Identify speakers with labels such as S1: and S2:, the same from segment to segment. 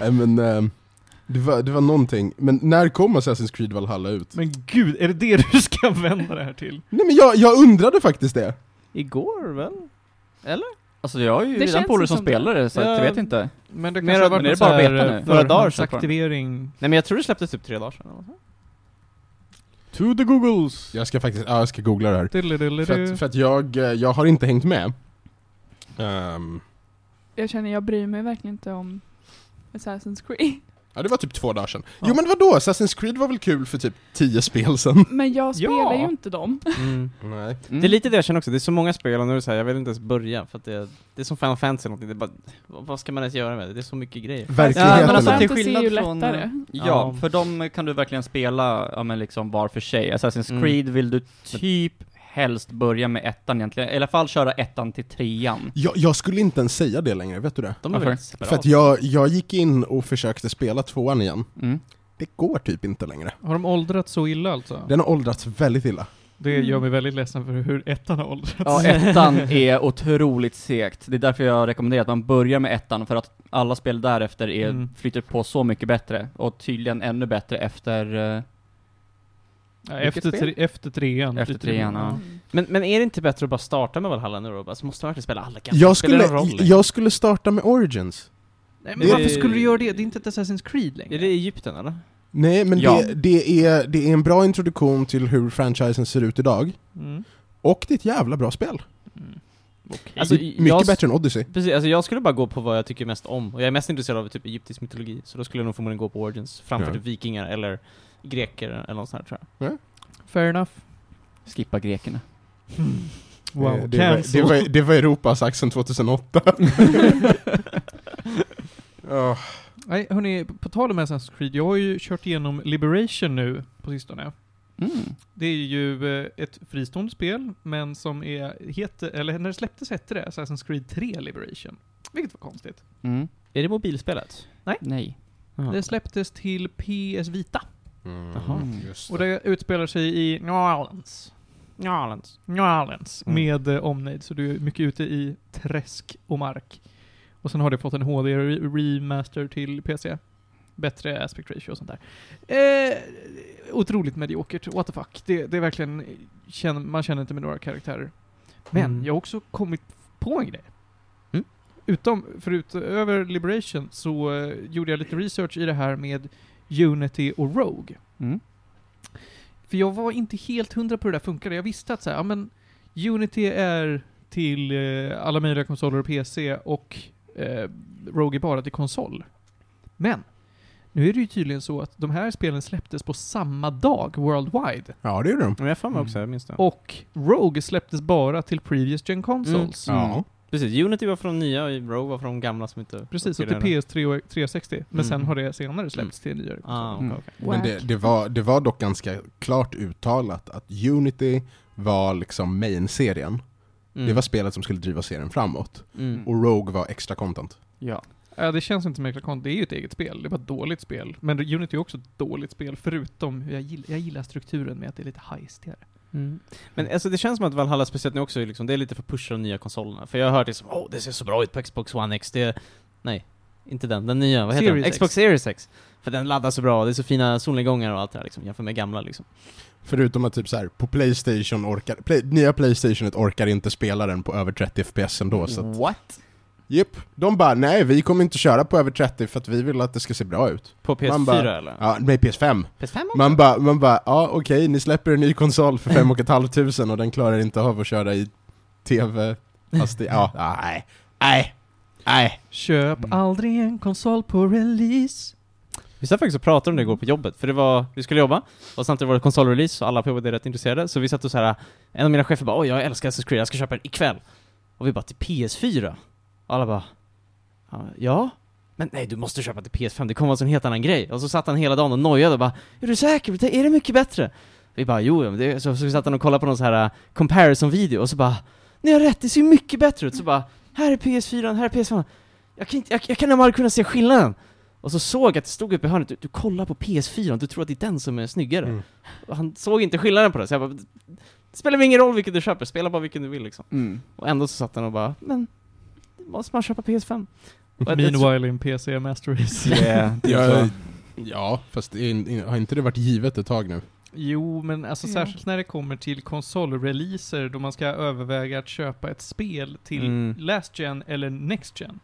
S1: Nej men, ehm, det var, det var någonting. Men när kom Assassin's Creed Valhalla ut?
S2: Men gud, är det det du ska vända det här till?
S1: Nej men jag, jag undrade faktiskt det.
S2: Igår väl?
S3: Alltså jag har ju
S4: Det
S3: redan
S4: känns
S3: polare
S4: ju
S3: som
S4: som
S3: spelar det, så
S2: Ja.
S3: att jag vet inte.
S5: Men det
S2: Mer-
S5: kanske har varit
S3: men är
S5: något
S3: det bara
S5: så här,
S3: beta nu?
S5: eh,
S2: Några dagar
S5: förhandsaktivering.
S2: sedan.
S5: Nej men jag tror det släpptes typ tre dagar sedan eller något sånt.
S2: To the googles!
S1: Jag ska faktiskt, ja, jag ska googla det här. För
S2: Diddle-diddle-du.
S1: att, för att jag, eh, jag har inte hängt med. Ehm,
S4: Jag känner, jag bryr mig verkligen inte om Assassin's Creed.
S1: ja det var typ två dagar sedan.
S2: Ja.
S1: Jo men vadå, Assassin's Creed var väl kul för typ tio spel sedan?
S4: Men jag spelar
S2: Ja.
S4: ju inte dem.
S5: Mm.
S1: Nej.
S3: Mm.
S5: Det är lite det jag känner också, det är så många spel och nu är det så här, jag vill inte ens börja för att det, det är som Final Fantasy eller någonting, det är bara, vad vad ska man ens göra med det? Det är så mycket grejer.
S1: Verkligheten.
S3: Ja, men alltså,
S1: är-
S3: till
S4: Fantasy är
S3: skillnad
S4: ju
S3: från-
S4: lättare.
S3: Ja,
S5: Ja.
S3: för dem kan du verkligen spela ja, men liksom var för sig. Assassin's
S5: Mm.
S3: Creed vill du typ helst börja med ettan egentligen, eller i alla fall köra ettan till trean.
S1: jag, jag skulle inte ens säga det längre, vet du det?
S5: De är
S3: Varför?
S5: väl
S1: För
S5: separata.
S1: att jag, jag gick in och försökte spela tvåan igen.
S3: Mm.
S1: Det går typ inte längre.
S2: Har de åldrats så illa alltså?
S1: Den har åldrats väldigt illa.
S2: Det gör mig väldigt ledsen för hur ettan har åldrats.
S3: Ja, ettan är otroligt segt. Det är därför jag rekommenderar att man börjar med ettan, för att alla spel därefter är,
S2: Mm.
S3: flyter på så mycket bättre. Och tydligen ännu bättre efter... eh,
S2: Ja,
S3: Vilket
S2: efter,
S3: spel?
S2: tre, efter trean.
S3: Efter trean, ja.
S4: Mm.
S5: men, men är det inte bättre att bara starta med Valhalla nu då? Alltså, måste man verkligen spela alla gamla?
S1: Jag
S5: Spelar det
S1: skulle,
S5: någon roll liksom? längre?
S1: jag skulle starta med Origins.
S2: Nej,
S1: men Det- varför
S5: skulle du göra
S2: det? Det är inte ett Assassin's Creed längre.
S5: Är det Egypten eller?
S1: Nej, men
S3: Ja.
S1: det, det, är, det är en bra introduktion till hur franchisen ser ut idag.
S2: Mm.
S1: Och det är ett jävla bra spel.
S2: Okej.
S5: Alltså,
S1: My-
S5: jag
S1: Mm. Mycket
S5: s-
S1: bättre än Odyssey.
S5: Precis, alltså jag skulle bara gå på vad jag tycker mest om, och jag är mest intresserad av typ egyptisk mytologi, så då skulle jag nog förmodligen gå på Origins framför
S1: Ja.
S5: typ vikingar eller greker eller något sånt här tror jag.
S2: Fair enough.
S3: Skippa grekerna.
S1: Eh,
S2: Wow,
S1: det, var, det,
S2: cancel.
S1: var, det var Europas axeln 2008. Ja.
S2: Nej, hörni, på tal om Assassin's Creed, jag har ju kört igenom Liberation nu på sistone.
S3: Mm.
S2: Det är ju eh, ett fristående spel, men som är, heter, eller när det släpptes hette det Assassin's Creed 3 Liberation. Vilket var konstigt.
S3: Mm.
S5: Är det mobilspelet?
S3: Nej.
S2: Det släpptes till PS Vita,
S5: Jaha.
S1: Mm, just
S2: och det utspelar sig i New Orleans.
S5: Njalens.
S2: New Orleans,
S5: Mm.
S2: med eh, omnejd, så du är mycket ute i träsk och mark. Och sen har det fått en HD-remaster till PC. Bättre aspect ratio och sånt där. Eh, otroligt mediokert, what the fuck. Det, det är verkligen, känner, man känner inte med några karaktärer. Men
S5: Mm.
S2: jag har också kommit på en grej.
S5: Mm.
S2: Utom, förut, eh, över Liberation så eh, gjorde jag lite research i det här med Unity och Rogue.
S3: Mm.
S2: För jag var inte helt hundra på hur det där funkade. Jag visste att så här, ja, men Unity är till eh, alla möjliga konsoler och PC och eh, Rogue är bara till konsol. Men, nu är det ju tydligen så att de här spelen släpptes på samma dag worldwide.
S1: Ja, det gjorde de.
S5: Men jag har för mig också, jag minns det.
S2: Och Rogue släpptes bara till previous gen consoles.
S5: Mm.
S1: Ja.
S5: Precis, Unity var från nya, och Rogue var från de gamla som inte...
S2: Precis, och till
S5: uppgraderade.
S2: PS3 och 360. Men
S5: Mm.
S2: sen har det senare släppts till nyare
S5: Ah,
S2: konsoler.
S5: okej,
S3: Mm.
S1: Men
S5: okej.
S1: det, det, var, det var dock ganska klart uttalat att Unity var liksom main-serien.
S5: Mm.
S1: Det var spelet som skulle driva serien framåt.
S5: Mm.
S1: Och Rogue var extra content.
S3: Ja.
S2: Ja, det känns inte som Mekla Kont. Det är ju ett eget spel. Det var ett dåligt spel. Men Unity är också ett dåligt spel, förutom jag gillar, jag gillar strukturen med att det är lite heistigare.
S5: Mm. Men alltså det känns som att Valhalla speciellt nu också, är liksom, det är lite för att pusha de nya konsolerna. För jag har hört det som åh det ser så bra ut på Xbox One X, det... Nej, inte den, den nya, vad heter
S2: Series
S5: den?
S2: X.
S5: Xbox Series X. För den laddar så bra, det är så fina solnedgångar och allt det där liksom, jämfört med gamla liksom.
S1: Förutom att typ så här, på Playstation orkar, play, nya Playstationet orkar inte spela den på över 30 FPS ändå så
S5: Mm.
S1: att,
S3: What?
S1: Jipp, de bara nej vi kommer inte köra på över 30 för att vi vill att det ska se bra ut.
S5: På PS4
S1: Man bara-
S5: eller?
S1: Ja, nej PS5.
S5: PS5 också?
S1: Man bara, man bara, ja okej ni släpper en ny konsol för 5 500 och den klarar inte av att köra i TV, fast det, ja, nej, nej, nej.
S2: Köp
S3: Mm.
S2: aldrig en konsol på release.
S5: Vi satt faktiskt och pratade om det igår på jobbet, för det var, vi skulle jobba, och samtidigt var det konsolrelease och alla på jobbet är rätt intresserade, så vi satt och så här. en av mina chefer bara 'Åh, jag älskar Assassin's Creed, jag ska köpa den ikväll' Och vi bara 'Till PS4?' Och alla bara "Ja, 'Ja?' Men nej, du måste köpa till PS5, det kommer vara en sån helt annan grej. Och så satt han hela dagen och nojade och bara 'Är du säker? Det- Är det mycket bättre?' Vi bara 'Jo, men det är-" så, så vi satt han och kollade på någon så här eh, comparison-video och så bara 'Ni har rätt, det ser ju mycket bättre ut' Så bara 'Här är PS4, här är PS5' Jag kan, inte, jag, jag kan aldrig kunna se skillnaden! Och så såg jag att det stod uppe i hörnet, du, du kollar på PS4, du tror att det är den som är snyggare.
S1: Mm.
S5: Och han såg inte skillnaden på det, så jag bara, det spelar väl ingen roll vilken du köper, spela bara vilken du vill liksom.
S3: Mm.
S5: Och ändå så satt han och bara, men, måste man köpa PS5?
S2: Meanwhile in PC Master Race.
S3: Yeah, det är
S1: Ja,
S3: så.
S1: ja, fast det är in, in, har inte det varit givet ett tag nu?
S2: Jo, men alltså
S4: Ja.
S2: särskilt när det kommer till konsolreleaser då man ska överväga att köpa ett spel till
S5: Mm.
S2: Last Gen eller Next Gen.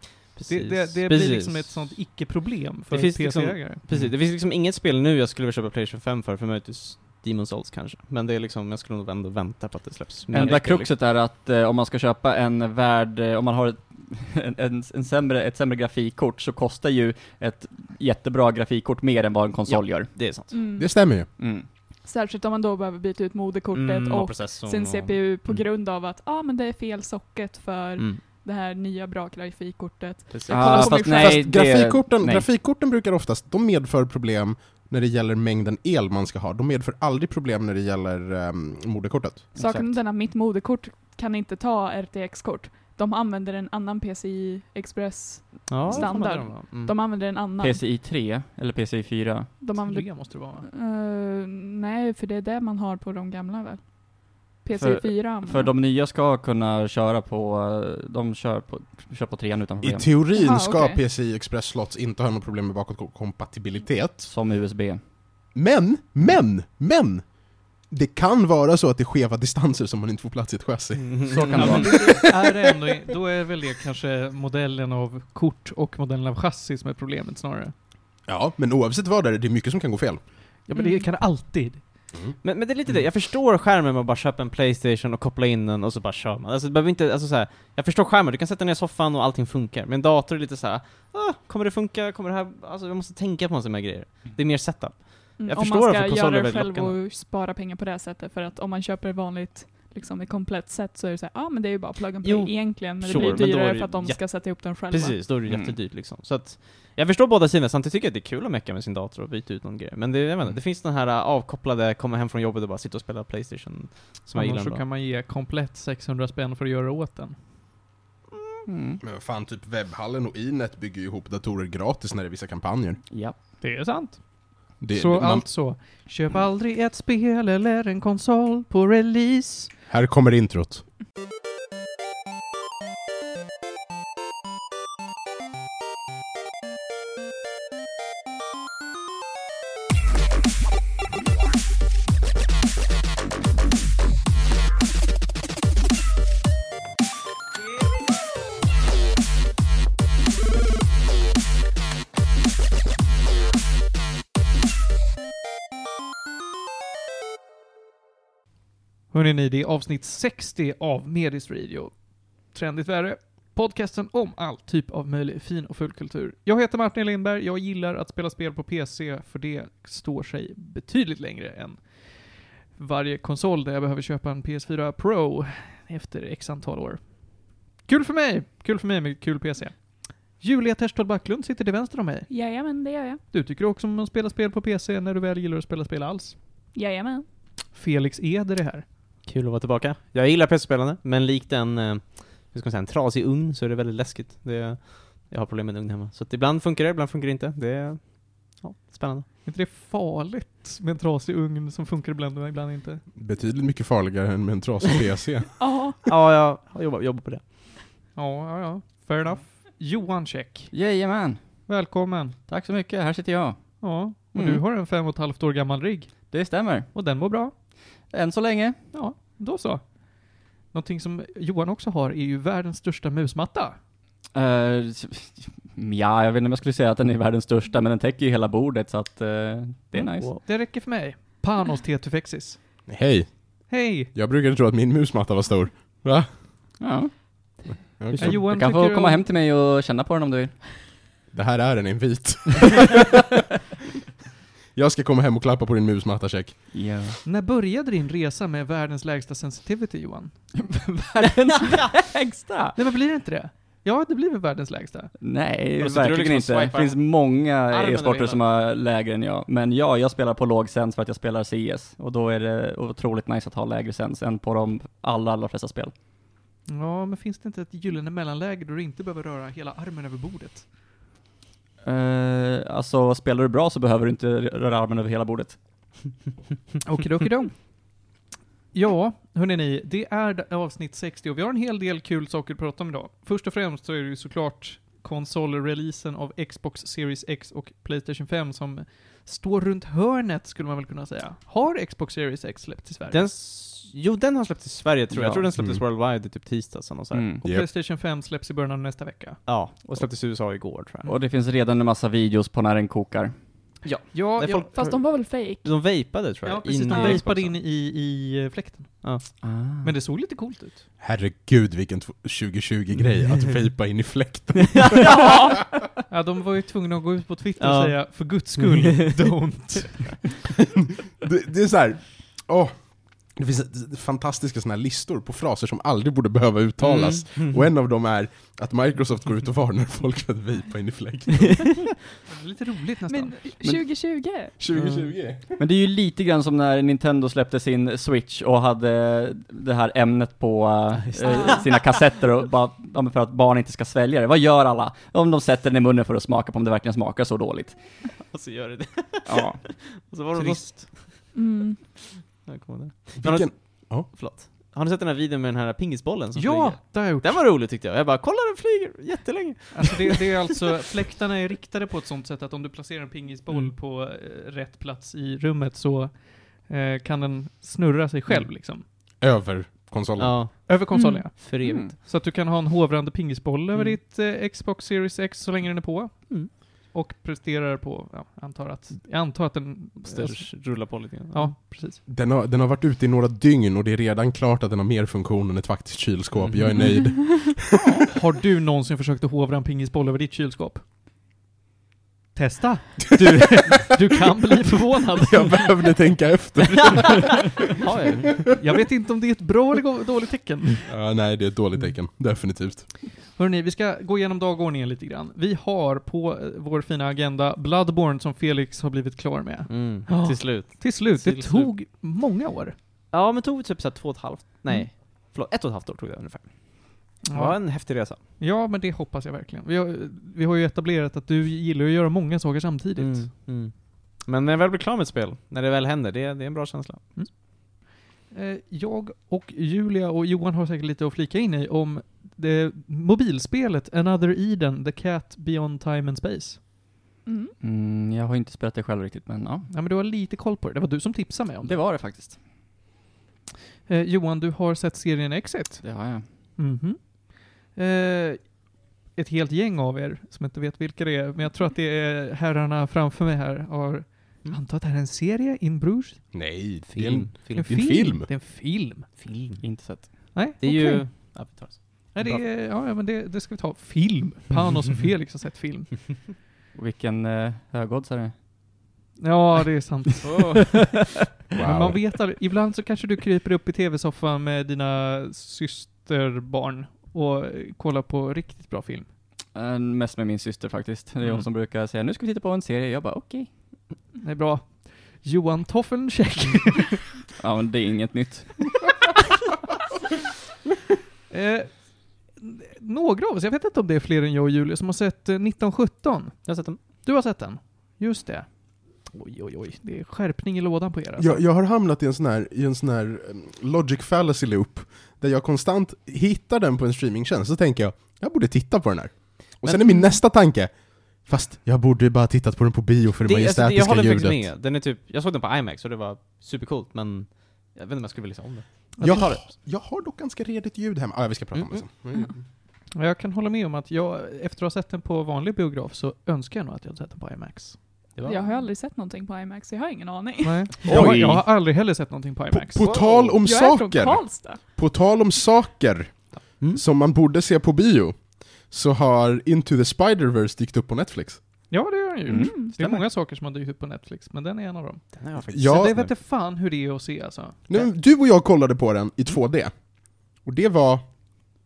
S2: Det,
S5: Precis.
S2: det, det blir
S5: Precis.
S2: liksom ett sånt icke-problem för
S5: Det finns liksom-
S2: PC-ägare.
S5: Precis, det finns liksom inget spel nu jag skulle vilja köpa Playstation 5 för, för möjligtvis Demon's Souls kanske. Men det är liksom, jag skulle nog ändå vänta på att det släpps. mer
S3: Enda
S5: spel, liksom.
S3: kruxet är att eh, om man ska köpa en värld, eh, om man har ett, en, en, en sämre, ett sämre grafikkort så kostar ju ett jättebra grafikkort mer än vad en konsol gör.
S5: Det är sant.
S4: Mm.
S1: Det stämmer ju.
S3: Mm.
S4: Särskilt om man då behöver byta ut moderkortet
S5: Mm,
S4: och
S5: processorn
S4: sin
S5: och-
S4: CPU på
S5: Mm.
S4: grund av att ah, men det är fel socket för
S5: Mm,
S4: det här nya bra grafikkortet.
S3: Ah,
S5: precis.
S4: kollar på min skärm.
S3: det-
S1: fast grafikkorten,
S3: nej.
S1: grafikkorten brukar oftast, de medför problem när det gäller mängden el man ska ha. De medför aldrig problem när det gäller um, moderkortet.
S4: Saken är
S3: Exakt.
S4: den att mitt moderkort kan inte ta RTX-kort. De använder en annan PCI Express.
S5: Ja,
S4: standard.
S5: det får man göra, va? Mm.
S4: De använder en annan.
S3: PCI 3 eller PCI 4.
S4: De använder...
S2: Tre måste det vara.
S4: Eh, nej, för det är det man har på de gamla väl?
S3: För-
S4: PCI 4 använder
S3: För de nya ska kunna köra på, eh, de kör på, kör på 3 utan
S1: I
S3: problem.
S1: teorin
S4: Aha,
S1: ska
S4: okej.
S1: PCI Express Slots inte ha något problem med bakåtkompatibilitet.
S3: Som USB.
S1: Men, men, men! Det kan vara så att det är skeva distanser som man inte får plats i ett chassi.
S3: Så kan det
S2: Ja,
S3: vara.
S2: men det är det ändå, då är väl det kanske modellen av kort och modellen av chassi som är problemet snarare.
S1: Ja, men oavsett vad det är, det är mycket som kan gå fel.
S2: Ja men
S4: men
S2: det
S4: det
S2: kan alltid.
S5: Men, men det är
S2: Mm.
S5: lite det, jag förstår skärmen med att bara köpa en Playstation och koppla in den och så bara kör man. Alltså det behöver inte, alltså så här, jag förstår skärmen, du kan sätta ner i soffan och allting funkar. Men dator är lite så här, ah, kommer det funka, kommer det här, alltså jag måste tänka på en sån här grejer. Det är mer setup.
S4: Mm,
S5: Jag
S4: om
S5: förstår
S4: man
S5: varför
S4: ska
S5: konsoler
S4: göra
S5: är
S4: det
S5: väldigt
S4: själv och spara pengar på det sättet. För att om man köper vanligt, liksom ett komplett set så är det så här, ja ah, men det är ju bara plug and play
S5: Jo,
S4: egentligen. Men
S5: sure,
S4: det
S5: men då
S4: blir
S5: är
S4: dyrare
S5: det
S4: för att de
S5: jätte-
S4: ska sätta ihop den själva.
S5: Precis, då är det
S3: Mm.
S5: jättedyrt liksom. Så att, jag förstår båda sidorna, samtidigt tycker jag att det är kul att mecka med sin dator och byta ut någon grej. Men det, jag
S2: Mm.
S5: vet inte, det finns den här äh, avkopplade, komma hem från jobbet och bara sitta och spela Playstation, som jag
S2: Annars
S5: gillar
S2: så
S5: ändå.
S2: kan man ge komplett 600 spänn för att göra åt den.
S3: Mm.
S1: Men fan, typ webbhallen och Inet bygger ju ihop datorer gratis när det är vissa kampanjer.
S3: Ja.
S2: Det är sant.
S1: Det,
S2: så
S1: man,
S2: alltså, köp aldrig ett spel eller en konsol på release.
S1: Här kommer introt.
S2: Hörrni ni, det är avsnitt 60 av Medis Radio. Trendigt värre. Podcasten om all typ av möjlig fin och full kultur. Jag heter Martin Lindberg, jag gillar att spela spel på PC för det står sig betydligt längre än varje konsol där jag behöver köpa en PS4 Pro efter x antal år. Kul för mig! Kul för mig med kul PC. Julia Terstad Backlund sitter till vänster om mig.
S4: Jajamän, det gör jag.
S2: Du tycker också om att spela spel på PC när du väl gillar att spela spel alls.
S4: Jajamän.
S2: Felix Eder är här.
S5: Kul att vara tillbaka. Jag gillar PC-spelande, men likt en, eh, hur ska man säga, en trasig ugn så är det väldigt läskigt. Det, jag har problem med en ugn hemma. Så att ibland funkar det, ibland funkar det inte. Det är ja, spännande.
S2: Är inte det farligt med en trasig ugn som funkar ibland och ibland inte?
S1: Betydligt mycket farligare än med en trasig PC.
S4: Ja,
S5: Ja, jag har jobbat, jobbat på det.
S2: Ja, ja, ja. Fair enough. Johan Käck,
S3: Jajamän.
S2: välkommen.
S3: Tack så mycket, här sitter jag.
S2: Ja, och
S3: Mm.
S2: du har en fem och ett halvt år gammal rigg.
S3: Det stämmer.
S2: Och den mår bra.
S3: Än så länge.
S2: Ja, då så. Någonting som Johan också har är ju världens största musmatta.
S3: Eh, ja, jag vet inte om jag skulle säga att den är världens största, men den täcker ju hela bordet så att eh, det är nice.
S5: Wow.
S2: Det räcker för mig. Panos tetufexis.
S1: Hej,
S2: Hej!
S1: jag brukade tro att min musmatta var stor. Va?
S3: Ja.
S1: Okej.
S2: Ja, Johan
S3: Du kan få
S2: tycker
S3: komma
S2: om-
S3: hem till mig och känna på den om du vill.
S1: Det här är en invit. jag ska komma hem och klappa på din musmatta, check.
S3: Ja.
S2: När började din resa med världens lägsta sensitivity, Johan?
S3: Världens lägsta!
S2: Nej, men blir det inte det? Ja, det blir väl världens lägsta.
S3: Nej,
S5: Och så tror du
S3: verkligen
S5: liksom
S3: inte. Det
S5: swipar-
S3: finns många
S5: Armen
S3: e-sporter
S5: eller
S3: som har lägre än jag. Men ja, jag spelar på låg sens för att jag spelar CS. Och då är det otroligt nice att ha lägre sens än på de allra, allra flesta spel.
S2: Ja, men finns det inte ett gyllene mellanläge då du inte behöver röra hela armen över bordet?
S3: Uh, alltså, spelar du bra så behöver du inte röra armen över hela bordet.
S2: Okidokidok. Ja, hörni ni, det är d- avsnitt 60 och vi har en hel del kul saker att prata om idag. Först och främst så är det ju såklart konsolreleasen av Xbox Series X och Playstation 5 som står runt hörnet skulle man väl kunna säga. Har Xbox Series X släppts i Sverige?
S5: Den, s- jo, den har släppts i Sverige tror jag.
S3: Ja.
S5: Jag tror den släpptes
S1: Mm.
S5: worldwide i typ tisdags eller nåt så här.
S3: Mm.
S2: och
S1: Japp.
S2: Playstation 5 släpps i början av nästa vecka.
S5: Ja, och släpptes i USA igår tror jag.
S3: Och det finns redan en massa videos på när den kokar.
S5: Ja.
S2: Ja, jag,
S5: Nej, folk-
S4: Fast de var väl fake?
S5: De vejpade tror jag.
S2: ja precis.
S5: innan
S2: De
S4: i
S2: vejpade
S5: Xboxen. Mm.
S2: in i, i eh, fläkten.
S3: Ah.
S2: Men det såg lite coolt ut.
S1: Herregud vilken 2020-grej att vejpa in i fläkten.
S2: Ja, de var ju tvungna att gå ut på Twitter
S5: Ja.
S2: och säga för guds skull, don't.
S1: det, det är så här. åh. Det finns fantastiska såna här listor på fraser som aldrig borde behöva uttalas.
S5: Mm.
S1: Och en av dem är att Microsoft går ut och varnar folk för att vipa in i fläkten.
S2: Det är lite roligt nästan.
S4: Men 2020?
S1: 2020.
S3: Men det är ju lite grann som när Nintendo släppte sin Switch och hade det här ämnet på eh, eh, sina kassetter och bara, ja, men för att barn inte ska svälja det. Vad gör alla? Om de sätter den i munnen för att smaka på om det verkligen smakar så dåligt.
S5: Och så gör det det.
S3: Ja.
S5: Och så var de
S2: Trist.
S4: Mm.
S5: Jag kommer ihåg det. Men har,
S1: Vilken,
S5: du- förlåt. Har ni sett den här videon med den här pingisbollen som
S2: ja,
S5: flyger?
S2: det har jag gjort.
S5: Den var rolig tyckte jag. Jag bara, kolla den flyger jättelänge.
S2: Alltså det, det är alltså, fläktarna är riktade på ett sånt sätt att om du placerar en pingisboll
S5: Mm.
S2: på eh, rätt plats i rummet så eh, kan den snurra sig själv
S5: Mm.
S2: liksom.
S1: över konsolen.
S5: Ja,
S2: Över konsolen
S4: Mm.
S2: ja.
S5: för evigt.
S3: Mm.
S2: Så att du kan ha en hovrande pingisboll över
S5: Mm.
S2: ditt eh, Xbox Series X så länge den är på.
S5: Mm.
S2: Och presterar på, ja, antar att, jag antar att den... eh,
S5: Störs, rullar på lite grann.
S2: Ja, precis.
S1: Den, har, den har varit ute i några dygn och det är redan klart att den har mer funktion än ett faktiskt kylskåp. Jag är
S5: Mm.
S1: nöjd.
S2: Har du någonsin försökt att hovra en pingisboll över ditt kylskåp? Testa!
S5: Du, du kan bli förvånad.
S1: Jag behövde tänka efter.
S5: Har jag.
S2: Jag vet inte om det är ett bra eller go- dåligt tecken.
S1: Ja, nej, det är ett dåligt tecken. Definitivt.
S2: Hörrni, vi ska gå igenom dagordningen lite grann. Vi har på eh, vår fina agenda Bloodborne som Felix har blivit klar med.
S5: Mm.
S2: Ja.
S5: Till slut.
S2: Till slut, det
S5: Till slut.
S2: tog många år.
S5: Ja, men tog typ såhär två och ett halvt, nej,
S2: Mm.
S5: förlåt, ett och ett halvt år tog det ungefär. Det var
S2: Ja,
S5: en häftig resa.
S2: ja men det hoppas jag verkligen. Vi har, vi har ju etablerat att du gillar att göra många saker samtidigt.
S5: Mm. Men när jag väl blir klar med ett spel, när det väl händer, det, det är en bra känsla.
S2: Eh, Jag och Julia och Johan har säkert lite att flika in i om det mobilspelet Another Eden, The Cat Beyond Time and Space.
S4: Mm.
S3: Mm, jag har inte spelat det själv riktigt, men ja.
S2: Ja men du har lite koll på det, det var du som tipsade mig om det.
S3: Det var det faktiskt.
S2: Eh, Johan, du har sett serien Exit?
S3: Det har jag.
S2: Mhm. Eh, ett helt gäng av er, som inte vet vilka det är, men jag tror att det är herrarna framför mig här, har jag antar att det här är en serie, In Bruges?
S1: Nej, det är en,
S5: Film. Film.
S1: Det är en film.
S2: Det är en film.
S3: Film. Inte sett.
S2: Nej,
S5: Det är
S2: okej.
S5: ju... Ja, vi tar oss.
S2: Nej, det är, ja, ja, men det, det ska vi ta. Film. Panos och Felix har sett film.
S3: Vilken eh, högoddsare.
S2: Ja, det är sant. Men man
S1: wow.
S2: vet aldrig. Ibland så kanske du kryper upp i tv-soffan med dina systerbarn och eh, kollar på riktigt bra film.
S3: Eh, mest med min syster faktiskt. Det är
S2: Mm.
S3: hon som brukar säga nu ska vi titta på en serie. Jag bara okej.
S2: Det är bra. Johan Toffelcheck.
S3: Ja, men det är inget nytt.
S2: Eh, n- några av oss, jag vet inte om det är fler än jag och Julia, som har sett eh, 1917.
S5: Jag har sett dem.
S2: Du har sett den? Just det. Oj, oj, oj. Det är skärpning i lådan på er alltså.
S1: Jag, jag har hamnat i en sån här, i en sån här em, logic fallacy loop, där jag konstant hittar den på en streamingtjänst, så tänker jag jag borde titta på den här. Och sen är min nästa tanke, fast jag borde ju bara ha tittat på den på bio för det,
S5: Det, alltså, det, jag
S1: majestätiska
S5: håller
S1: ljudet.
S5: faktiskt med. Den är typ, jag såg den på IMAX och det var supercoolt, men jag vet inte om jag skulle vilja se om det.
S1: Jag, har, jag har dock ganska redigt ljud hemma. Ah, ja, vi ska prata
S5: Mm,
S1: om det sen.
S2: Och Jag kan hålla med om att jag, efter att ha sett den på vanlig biograf, så önskar jag nog att jag hade sett den på IMAX.
S5: det var...
S4: Jag har ju aldrig sett någonting på IMAX, så jag har ingen aning.
S2: Nej. Jag, har,
S1: Oj.
S2: jag har aldrig heller sett någonting på
S5: mm.
S1: På,
S2: IMAX.
S1: på tal om
S4: jag är från
S1: saker,
S4: Karlstad.
S1: på tal om saker
S5: Mm.
S1: som man borde se på bio, så har Into the Spider-Verse dykt upp på Netflix.
S2: Ja, det har den ju.
S3: Mm.
S2: Det är
S3: Stämmer.
S2: många saker som har dykt upp på Netflix, men den är en av dem.
S5: Den har jag faktiskt
S2: Så
S1: Ja,
S2: det vet inte fan hur det är att se alltså.
S1: nu, du och jag kollade på den i 2D. Och det var...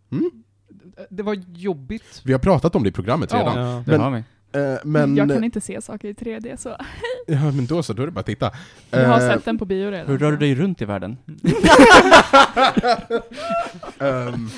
S2: Det, det var jobbigt.
S1: Vi har pratat om det i programmet
S2: Ja.
S1: redan.
S5: Ja.
S3: Det
S1: Men-
S3: har vi.
S1: Eh, men...
S4: Jag kan inte se saker i 3D, så
S1: Ja, men då så, då är det bara att titta.
S4: jag har
S1: Eh,
S4: sett den på bio redan.
S3: Hur rör du dig runt i världen?
S1: Eh, ehm,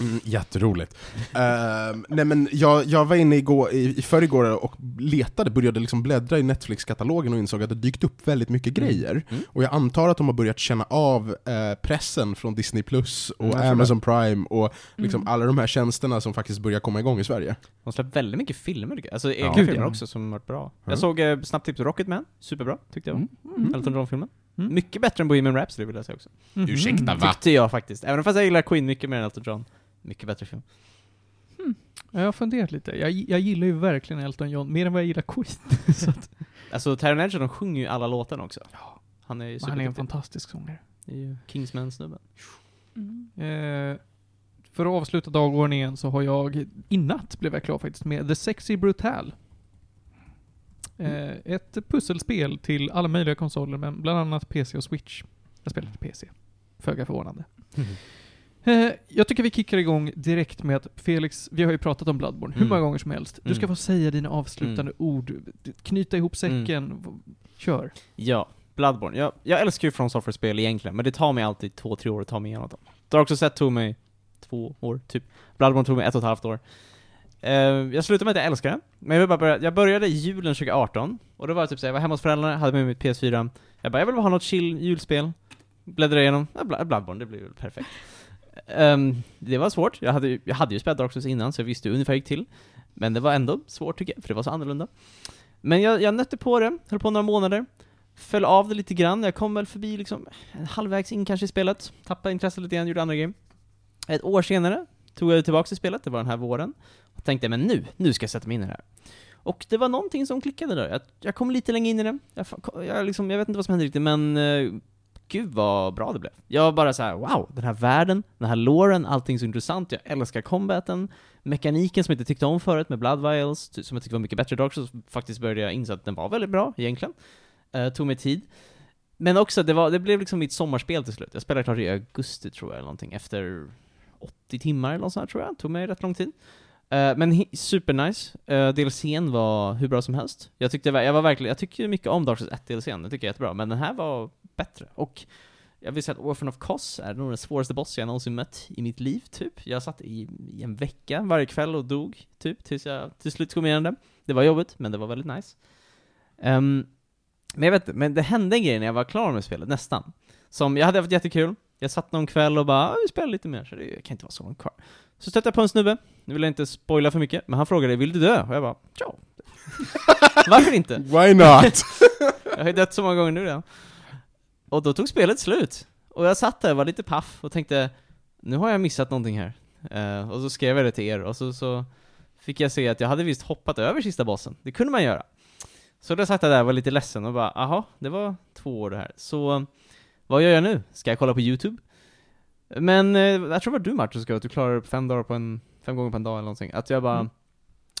S1: Mm, jätteroligt. Ehm, nej men jag, jag var inne igår, i, i förrgår och letade, började liksom bläddra i Netflix-katalogen och insåg att det dykt upp väldigt mycket grejer.
S3: Mm.
S1: Och jag antar att de har börjat känna av eh, pressen från Disney Plus och
S5: Mm, jag tror
S1: Amazon Prime och liksom
S4: Mm.
S1: alla de här tjänsterna som faktiskt börjar komma igång i Sverige.
S5: De släppte väldigt mycket filmer tycker jag. Alltså egna
S1: Ja.
S5: filmer
S2: Gud, ja.
S5: också som varit bra.
S1: Mm.
S5: Jag såg eh, snabbt tips Rocketman, superbra tyckte jag.
S3: Mm.
S5: Mm. Elton John-filmen.
S2: Mm.
S5: Mycket bättre än Bohemian Rhapsody vill jag säga också.
S2: Mhm.
S4: Mm.
S1: Ursäkta va?
S5: Tyckte jag faktiskt. Även fast jag gillar Queen mycket mer än Elton John. Mycket bättre film.
S2: Ja, Jag har funderat lite. Jag, jag gillar ju verkligen Elton John, mer än vad jag gillar Queen. Så att,
S5: Alltså Taron Egerton sjunger ju alla låtarna också. Han är ju
S2: han är en
S5: superduktig.
S2: fantastisk sångare.
S5: Det är ju Kingsman-snubben.
S4: Mm.
S2: Eh, för att avsluta dagordningen så har jag, i natt blev jag klar faktiskt med The Sexy Brutal. Eh,
S5: Mm.
S2: ett pusselspel till alla möjliga konsoler, men bland annat PC och Switch. Jag spelar till PC. Föga förvånande. Eh, jag tycker vi kickar igång direkt med att Felix, vi har ju pratat om Bloodborne hur
S5: Mm.
S2: många gånger som helst. Du ska
S5: Mm.
S2: få säga dina avslutande ord, d- knyta ihop säcken,
S5: Mm.
S2: v- kör.
S5: Ja, Bloodborne. Jag, jag älskar ju From Software-spel egentligen, men det tar mig alltid två, tre år att ta mig igenom dem. Dark Souls 1 tog mig två år, typ. Bloodborne tog mig ett och ett halvt år. Eh, jag slutar med att jag älskar det, men jag vill bara börja. Jag började i julen 2018, och då var jag typ såhär, jag var hemma hos föräldrarna, hade med mig mitt PS4. Jag bara, jag vill bara ha något chill julspel. Bläddra igenom, ja, Bla- Bloodborne, det blir väl perfekt. Ehm, det var svårt, jag hade, ju- jag hade ju spelat Dark Souls innan, så jag visste ju ungefär hur det gick till. Men det var ändå svårt tycker jag, för det var så annorlunda. Men jag, jag nötte på det, höll på några månader. Föll av det lite grann, jag kom väl förbi liksom halvvägs in kanske i spelet. Tappade intresset lite grann, gjorde andra grejer. Ett år senare tog jag tillbaka till spelet, det var den här våren. Och tänkte, men nu, nu ska jag sätta mig in i det här. Och det var någonting som klickade där. Jag, jag kom lite längre in i det. Jag, fa- jag, liksom, jag vet inte vad som hände riktigt, men eh, gud vad bra det blev. Jag var bara så här: wow, den här världen, den här låren, allting så intressant. Jag älskar combaten, mekaniken som jag inte tyckte om förut med Blood Vials, ty- som jag tyckte var mycket bättre i Dark Souls, faktiskt började jag inse att den var väldigt bra egentligen. Eh, tog mig tid. Men också, det, var, det blev liksom mitt sommarspel till slut. Jag spelade klart i augusti tror jag, eller någonting, efter 80 timmar eller något sånt här, tror jag. Tog mig rätt lång tid. Eh, men he- supernice. Uh, DLCn var hur bra som helst. Jag tyckte, ver- jag var verkligen, jag tycker ju mycket om Dark Souls 1 DLCn, den tycker jag är jättebra, men den här var bättre. Och jag vill säga att Orphan of Kos är nog den svåraste boss jag någonsin mött i mitt liv, typ. Jag satt i, i en vecka varje kväll och dog, typ, tills jag till slut kom igenom den. Det var jobbigt, men det var väldigt nice. Ehm, men jag vet inte, men det hände en grej när jag var klar med spelet, nästan. Som, jag hade haft jättekul, jag satt någon kväll och bara "Ah, vi spelar lite mer, så det kan inte vara så långt kvar. Så stötte jag på en snubbe, nu vill jag inte spoila för mycket, men han frågade 'Vill du dö?' och jag bara 'Tja' Varför inte?
S1: Why not?
S5: Jag har ju dött så många gånger nu redan. Och då tog spelet slut. Och jag satt där och var lite paff och tänkte Nu har jag missat någonting här. Eh, och så skrev jag det till er och så, så fick jag se att jag hade visst hoppat över sista bossen. Det kunde man göra. Så då satt jag där och var lite ledsen och bara aha, det var två år det här. Så vad gör jag nu? Ska jag kolla på YouTube? Men eh, jag tror det var du Martin som skrev att du klarar upp fem dagar på en, fem gånger på en dag eller någonting. Att jag bara,
S2: Mm.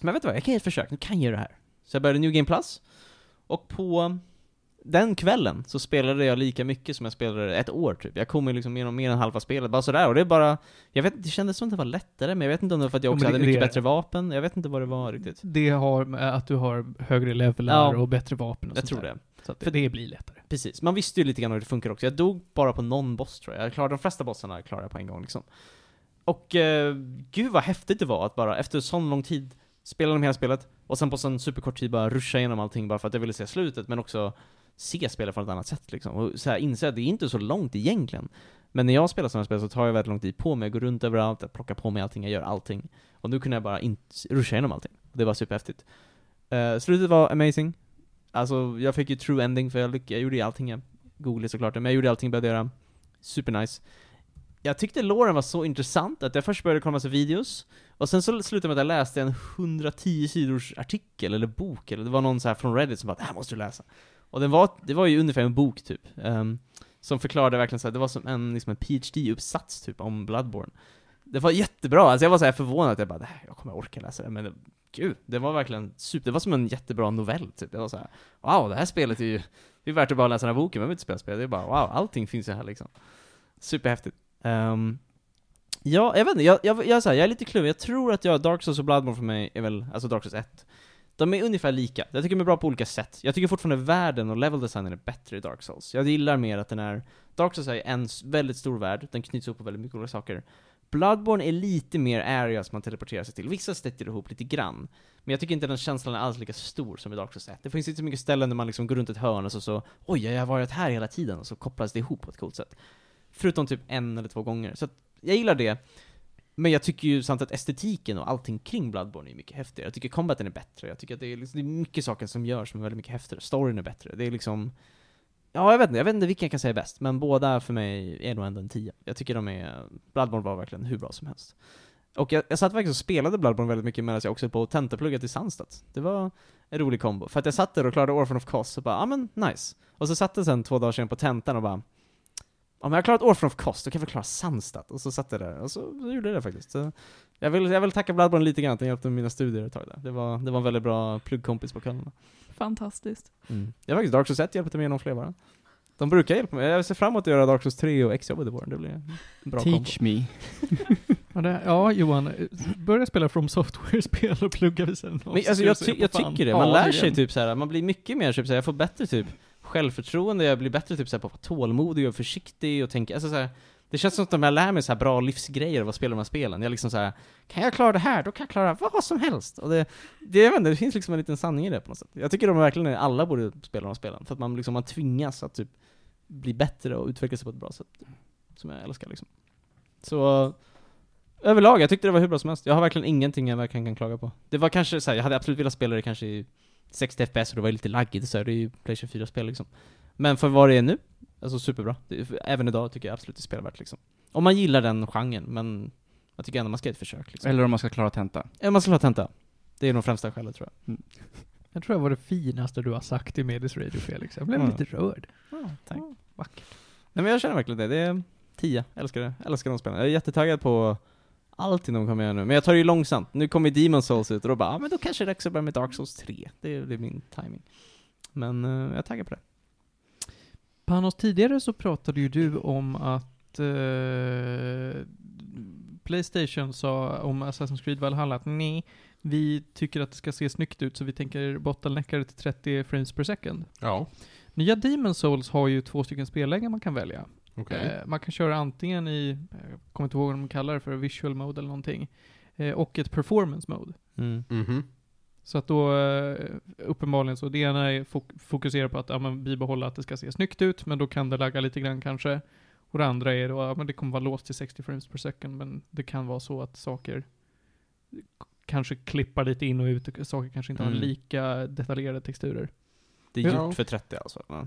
S5: men vet du vad, jag kan ge ett försök, nu kan jag göra det här. Så jag började New Game Plus. Och på den kvällen så spelade jag lika mycket som jag spelade ett år typ. Jag kom ju liksom igenom mer än halva spelet, bara sådär. Och det är bara, jag vet det kändes som att det var lättare, men jag vet inte om det var för att jag
S2: Ja, men
S5: också
S2: det-
S5: hade
S2: det
S5: mycket
S2: är-
S5: bättre vapen. Jag vet inte vad det var riktigt.
S2: Det har med att du har högre levelar
S5: Ja.
S2: och bättre vapen och
S5: Jag
S2: Mm. sånt
S5: tror
S2: där.
S5: det.
S2: Så att det, för det blir lättare.
S5: Precis, man visste ju lite grann hur det funkar också. Jag dog bara på någon boss tror jag. jag klarade, de flesta bossarna klarade jag på en gång liksom. Och eh, gud vad häftigt det var att bara efter sån lång tid spela igenom hela spelet och sen på sån superkort tid bara ruscha igenom allting bara för att jag ville se slutet men också se spelet från ett annat sätt liksom. Och så här, inse att det är inte så långt egentligen. Men när jag spelar sådana spel så tar jag väldigt lång tid på mig. Jag går runt överallt, jag plockar på mig allting, jag gör allting. Och nu kunde jag bara in- ruscha igenom allting. Det var superhäftigt. Eh, slutet var amazing. Alltså, jag fick ju true ending för jag, lyck- jag gjorde ju allting jag googlade såklart, men jag gjorde allting jag behövde göra. Supernice. Jag tyckte låren var så intressant att jag först började kolla massa videos, och sen så slutade med att jag läste en 110 sidors artikel eller bok, eller det var någon så här från Reddit som bara 'Det här måste du läsa' Och den var, det var ju ungefär en bok typ, ehm, som förklarade verkligen så här, det var som en, liksom en PhD-uppsats typ om Bloodborne. Det var jättebra, alltså jag var så här förvånad att jag bara 'Det här, jag kommer orka läsa det' men det, gud, det var verkligen super, det var som en jättebra novell typ, det var så här Wow, det här spelet är ju... Det är värt att bara läsa den här boken, man behöver inte spela spel. Det är bara wow, allting finns ju här liksom. Superhäftigt. Ehm, ja, jag vet inte, jag, jag, jag, är så här, jag är lite kluven. Jag tror att jag, Dark Souls och Bloodborne för mig är väl, alltså Dark Souls 1. De är ungefär lika. Jag tycker de är bra på olika sätt. Jag tycker fortfarande världen och level designen är bättre i Dark Souls. Jag gillar mer att den är... Dark Souls är en s- väldigt stor värld, den knyts ihop på väldigt mycket olika saker. Bloodborne är lite mer areas man teleporterar sig till. Vissa sätter ihop lite grann. Men jag tycker inte den känslan är alls lika stor som i Dark Souls 1. Det finns inte så mycket ställen där man liksom går runt ett hörn och så, så oj, jag har varit här hela tiden, och så kopplas det ihop på ett coolt sätt. Förutom typ en eller två gånger. Så att jag gillar det. Men jag tycker ju samt att estetiken och allting kring Bloodborne är mycket häftigare. Jag tycker combaten är bättre, jag tycker att det är, liksom, det är mycket saker som görs som är väldigt mycket häftigare. Storyn är bättre, det är liksom... Ja, jag vet inte, jag vet inte vilken jag kan säga är bäst, men båda för mig är nog ändå en 10. Jag tycker de är... Bloodborne var verkligen hur bra som helst. Och jag, jag satt verkligen och spelade Bloodborne väldigt mycket medan jag också på tentaplugget i Sandstad. Det var en rolig kombo. För att jag satt där och klarade Orphan of Cost och bara, ja ah, men nice. Och så satt jag sen två dagar senare på tentan och bara, om jag har klarat Orphan of Cost, då kan jag väl klara Sandstad? Och så satt jag där, och så gjorde jag det faktiskt. Så jag, vill, jag vill tacka Bloodborne lite grann, att den hjälpte med mina studier ett tag där. Det var, det var en väldigt bra pluggkompis på kvällarna.
S4: Fantastiskt.
S5: Jag har faktiskt Dark Souls 1 hjälpte mig igenom flera varv. De brukar hjälpa mig. Jag ser fram emot att göra Dark Souls 3 och X-jobbet i vår. Det blir en bra kombo.
S3: Teach me.
S2: Ja, det, ja Johan, eh, börja spela From Software-spel och plugga vid sidan av,
S5: Men
S2: så
S5: alltså,
S2: ska
S5: jag,
S2: du
S5: ty-
S2: se
S5: jag
S2: på fan.
S5: tycker det. Man
S2: Ja,
S5: lär
S2: igen.
S5: sig typ så här. man blir mycket mer typ så här. jag får bättre typ självförtroende, jag blir bättre typ så här, på att vara tålmodig och försiktig och tänka, alltså så här, det känns som att när jag lär mig så här bra livsgrejer av att spela de här spelen, jag liksom så här, kan jag klara det här, då kan jag klara vad som helst. Och det, det, jag vet inte, det finns liksom en liten sanning i det på något sätt. Jag tycker de verkligen, är- alla borde spela de här spelen, för att man liksom, man tvingas att typ bli bättre och utveckla sig på ett bra sätt. Som jag älskar liksom. Så, Överlag, jag tyckte det var hur bra som helst. Jag har verkligen ingenting jag verkligen kan klaga på. Det var kanske så här, jag hade absolut velat spela det kanske i 60 FPS och det var ju lite laggigt så här, det är ju Playstation 4-spel liksom. Men för vad det är nu, alltså superbra. Det, även idag tycker jag absolut det är spelvärt liksom. Om man gillar den genren, men jag tycker ändå man ska ge ett försök liksom.
S3: Eller om man ska klara tenta.
S5: Eller man ska ha tenta. Det är nog främsta skälet tror jag.
S2: Jag tror det var det finaste du har sagt i Medis Radio, Felix. Jag blev
S5: Mm.
S2: lite rörd.
S5: tack.
S2: Vackert.
S5: Nej men jag känner verkligen det. Det är 10. Jag Älskar det. Jag Älskar de spelen. Jag är jättetaggad på allting de kommer göra nu. Men jag tar det ju långsamt. Nu kommer Demon Souls ut och då bara, ah, men då kanske det är dags att börja med Dark Souls 3. Det är, det är min timing. Men eh, jag är taggad på det.
S2: Panos, tidigare så pratade ju du om att eh, Playstation sa om Assassin's Creed Valhalla att nej, vi tycker att det ska se snyggt ut så vi tänker bottlenecka det till 30 frames per second.
S1: Ja,
S2: Nya Demon Souls har ju två stycken spellägen man kan välja.
S1: okej.
S2: Eh, man kan köra antingen i, jag kommer inte ihåg vad de kallar det för, visual mode eller någonting, eh, och ett performance mode.
S1: Mhm.
S2: Så att då, eh, uppenbarligen så, det ena är fok- fokusera på att ja, men bibehålla att det ska se snyggt ut, men då kan det lagga lite grann kanske. Och det andra är då, ja, men det kommer vara låst till 60 frames per second, men det kan vara så att saker k- kanske klippar lite in och ut, och saker kanske inte har
S5: Mm.
S2: lika detaljerade texturer.
S5: Det är
S2: Ja.
S5: gjort för 30 alltså. Ja.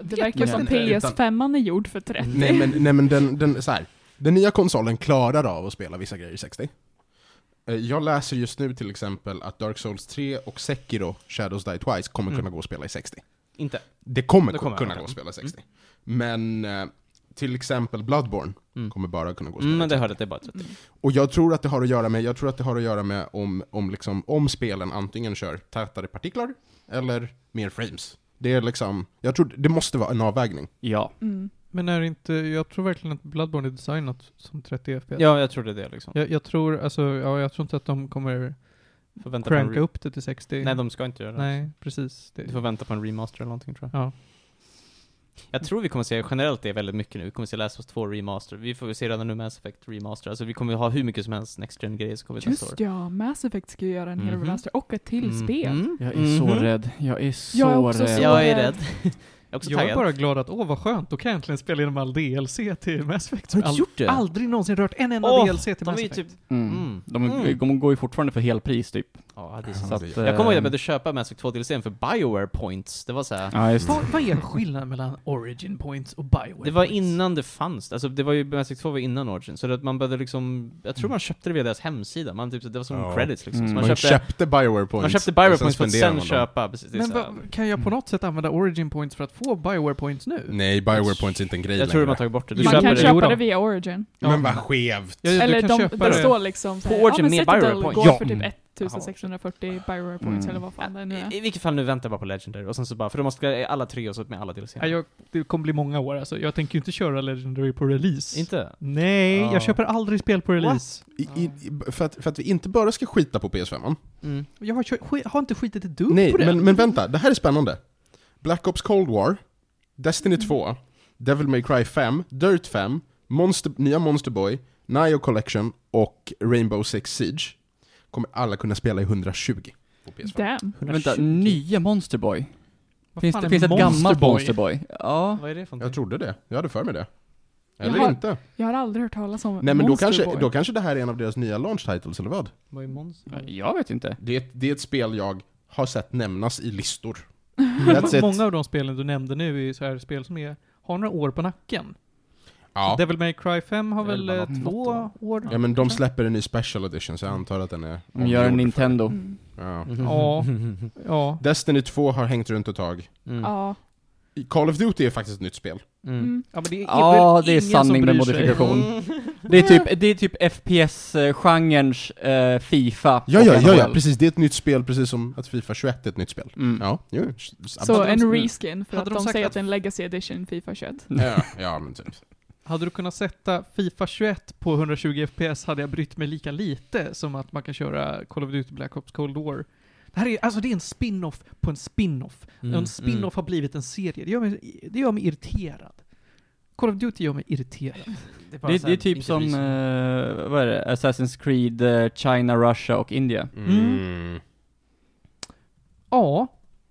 S4: Det verkar
S1: inte.
S4: som
S1: Utan-
S4: PS5 är gjord för 30.
S1: Nej men, nej, men den, den, så här. den nya konsolen klarar av att spela vissa grejer i 60. Eh, Jag läser just nu till exempel att Dark Souls 3 och Sekiro, Shadows Die Twice, kommer
S5: Mm.
S1: kunna gå att spela i 60.
S5: Inte.
S1: Det kommer,
S5: Det kommer, Mm.
S1: kunna
S5: ja.
S1: gå att spela i 60. Men eh, till exempel Bloodborne
S5: Mm.
S1: kommer bara kunna gå att spela
S5: Mm,
S1: i
S5: men det
S1: 60.
S5: hörde jag att det är bara 30.
S4: Mm.
S1: Och jag tror att det har att göra med, jag tror att det har att göra med om, om, liksom, om spelen antingen kör tätare partiklar eller mer frames. Det är liksom, jag tror det måste vara en avvägning.
S3: Ja.
S4: Mm.
S2: Men är det inte, jag tror verkligen att Bloodborne är designat som 30 FPS.
S5: Ja, jag trodde det liksom.
S2: Jag, jag tror, alltså, ja, jag tror inte att de kommer
S5: Får vänta på en
S2: cranka
S5: re-
S2: upp det till 60.
S5: Nej, de ska inte göra det.
S2: Nej, precis. Det,
S5: Du får vänta på en remaster eller någonting tror jag.
S2: ja.
S5: Jag tror vi kommer se generellt det väldigt mycket nu. Vi kommer se Last of Us 2 remaster. Vi får väl se redan nu Mass Effect remaster. Alltså vi kommer ha hur mycket som helst Next Gen grejer som kommer ut nästa år.
S4: Just ja, Mass Effect ska ju göra en hel
S5: Mhm.
S4: remaster och ett till spel.
S3: Jag är så rädd. Mhm. Jag är så
S4: Jag är också
S3: rädd. Mm.
S5: Mm.
S4: så
S5: Mm-hmm. Jag är
S4: rädd.
S5: rädd. jag är också
S2: Jag är
S5: taggad.
S2: bara glad att, åh vad skönt, då kan jag äntligen spela igenom all DLC till Mass Effect.
S5: Har du
S2: All-
S5: inte gjort det?
S2: Aldrig någonsin rört en enda
S5: Åh,
S2: DLC till
S5: de är
S2: Mass
S5: ju
S2: Effect.
S5: typ...
S3: Mm.
S5: Mm.
S3: De,
S5: Mm.
S3: de går ju fortfarande för helpris typ.
S5: Ja, det är
S1: Ja.
S5: sant.
S3: Så att,
S1: Jag
S5: Jag kommer ihåg att jag
S3: ehm,
S5: behövde köpa Mass Effect 2 DLCn för Bioware Points. Det var så här.
S3: eh, Ja, just det.
S2: Vad, vad är skillnaden mellan Origin Points och Bioware
S5: Det var
S2: Points?
S5: innan det fanns. Alltså det var ju, Mass Effect 2 var innan Origin. Så att man behövde liksom, jag tror man köpte det via deras hemsida. Man typ, det var som
S1: Ja.
S5: credits liksom. Så
S3: Mm.
S1: Man,
S5: man köpte,
S1: köpte Bioware Points.
S5: man köpte Bioware
S1: och
S5: Points för att
S1: spenderar
S5: sen
S1: man dem.
S5: köpa, precis. Det är
S2: Men
S5: så här. Mm.
S2: vad- kan jag på något sätt använda Origin Points för att få Bioware Points nu?
S1: Nej, Bioware Points är inte en grej
S5: jag tror de
S1: längre.
S5: har tagit bort det. Du
S4: Man kan
S5: köper det.
S2: Jo
S4: köpa
S2: då.
S4: det via Origin.
S2: Ja.
S1: Men vad skevt!
S2: Ja, ja, du
S4: eller
S2: kan
S4: de,
S2: köpa
S4: det
S2: det.
S4: står liksom
S5: På
S4: såhär,
S5: Origin
S4: ja men
S5: med Bioware
S4: Citadel
S5: Points.
S4: går
S1: Ja.
S4: för typ
S1: Mm.
S4: 1640 Bioware Points
S3: Mm.
S4: eller vad fan det nu är.
S5: I, I vilket fall nu väntar jag bara på Legendary och sen så bara, för de måste alla tre och så med alla DLC.
S2: Nej, jag, det kommer bli många år alltså. Jag tänker ju inte köra Legendary på release.
S5: Inte?
S2: Nej,
S5: Ja.
S2: jag köper aldrig spel på release.
S1: I, i, i- för, att, för att vi inte bara ska skita på PS5.
S5: Mm.
S2: Jag har, kö- sk- har inte skitit ett dugg
S1: Nej,
S2: på det.
S1: men, men vänta, det här är spännande.
S5: Mm.
S1: Black Ops Cold War, Destiny 2, Devil May Cry 5, Dirt 5, Monster, nya Monster Boy, Nio Collection och Rainbow Six Siege kommer alla kunna spela i 120 på PS5.
S4: Damn.
S3: Vänta, nya Monster Boy?
S2: Vad
S3: Finns
S2: fan
S3: det
S2: är
S3: finns ett
S2: Monster
S3: gammalt
S2: Boy?
S3: Monster Boy? Ja.
S5: Vad är det för
S1: Jag
S5: någonting?
S1: trodde det, jag hade för mig det. Eller
S4: Jaha.
S1: inte.
S4: Jag har aldrig hört talas om
S1: Nej men då
S4: Monster
S1: kanske,
S4: Boy.
S1: då kanske det här är en av deras nya launch titles, eller vad?
S5: Vad är monster?
S3: Jag vet inte.
S1: Det är ett, det är ett spel jag har sett nämnas i listor.
S2: Men
S1: That's it.
S2: Många av de spelen du nämnde nu är ju så här spel som är, har några år på nacken.
S1: Ja.
S2: Devil May Cry 5 har
S3: Det är
S2: väl
S3: väl
S2: eh,
S3: bara något
S2: två år?
S1: ja, men de släpper en ny special edition, så jag antar att den är...
S3: De gör
S1: omgjord
S3: en
S1: för-
S3: Nintendo.
S4: Mm.
S1: Ja.
S2: Ja, ja.
S1: Destiny 2 har hängt runt ett tag.
S5: Mm.
S4: Ja.
S1: Call of Duty är faktiskt ett nytt spel.
S5: Mm.
S4: Mm.
S2: Ja, men det är
S3: Ja,
S2: väl
S3: det är
S2: ingen som
S3: sanning med
S2: bryr sig.
S3: modifikation. Det är typ, det är typ FPS-genrens eh, Fifa.
S1: Ja,
S3: och
S1: ja, ja, ja,
S3: NHL.
S1: precis. Det är ett nytt spel, precis som att Fifa 21 är ett nytt spel.
S3: Mm.
S1: Ja, jo.
S4: Så
S1: absolut.
S4: en reskin för
S2: hade de
S4: att de
S2: sagt
S4: säger
S2: att-
S4: att det är en legacy edition Fifa 21.
S1: Ja, ja, men typ.
S2: Hade du kunnat sätta Fifa 21 på 120 FPS hade jag brytt mig lika lite som att man kan köra Call of Duty Black Ops Cold War. Det här är, alltså det är en spin-off på en spin-off.
S1: Mm,
S5: Mm.
S2: Och en spin-off har blivit en serie. Det gör, mig, det gör mig irriterad. Call of Duty gör mig irriterad.
S5: Mm. Det, är bara
S3: Det,
S5: så
S3: det
S5: här,
S3: är typ
S5: inte
S3: som,
S5: bry sig.
S3: eh, vad är det, Assassin's Creed, eh, China, Russia och India.
S1: Mm.
S2: Ja,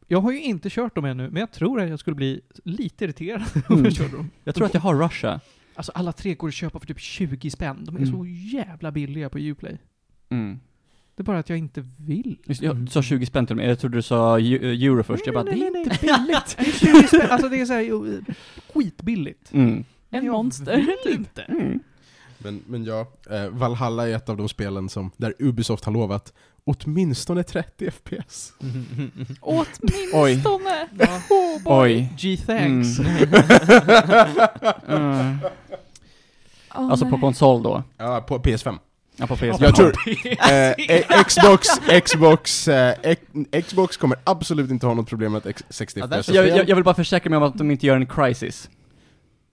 S2: jag har ju inte kört dem ännu, men jag tror att jag skulle bli lite irriterad om
S3: Mm.
S2: jag körde dem.
S3: Jag tror att jag har Russia.
S2: Alltså alla tre går att köpa för typ 20 spänn. De är
S3: Mm.
S2: så jävla billiga på Uplay.
S3: Mm.
S2: Det är bara att jag inte vill. Mm.
S3: Just, jag du sa 20 spänn till mig, jag trodde du sa eu- eh, euro först. Jag bara, det är inte...
S2: billigt. Det är 20 spänn. Alltså det är så här, jo, skitbilligt.
S3: Mm.
S4: En
S2: Jag
S4: monster. Typ.
S2: vill inte.
S3: Mm.
S1: Men, men ja, eh, Valhalla är ett av de spelen som, där Ubisoft har lovat åtminstone 30 FPS.
S5: eh,
S4: Åtminstone!
S2: Ja.
S4: Oh, boy.
S3: Oj.
S2: G thanks.
S3: Mm. Mm.
S4: Åh,
S3: Alltså på
S4: nej.
S3: konsol då?
S1: Ja, på PS5.
S3: Ja, på PS5.
S1: Jag tror... Eh, eh, Xbox, Xbox, eh, ex- Xbox kommer absolut inte ha något problem med att ex- 60
S5: Ja,
S1: FPS.
S5: därför-
S3: jag, jag, jag vill bara försäkra mig om att de inte gör en crisis.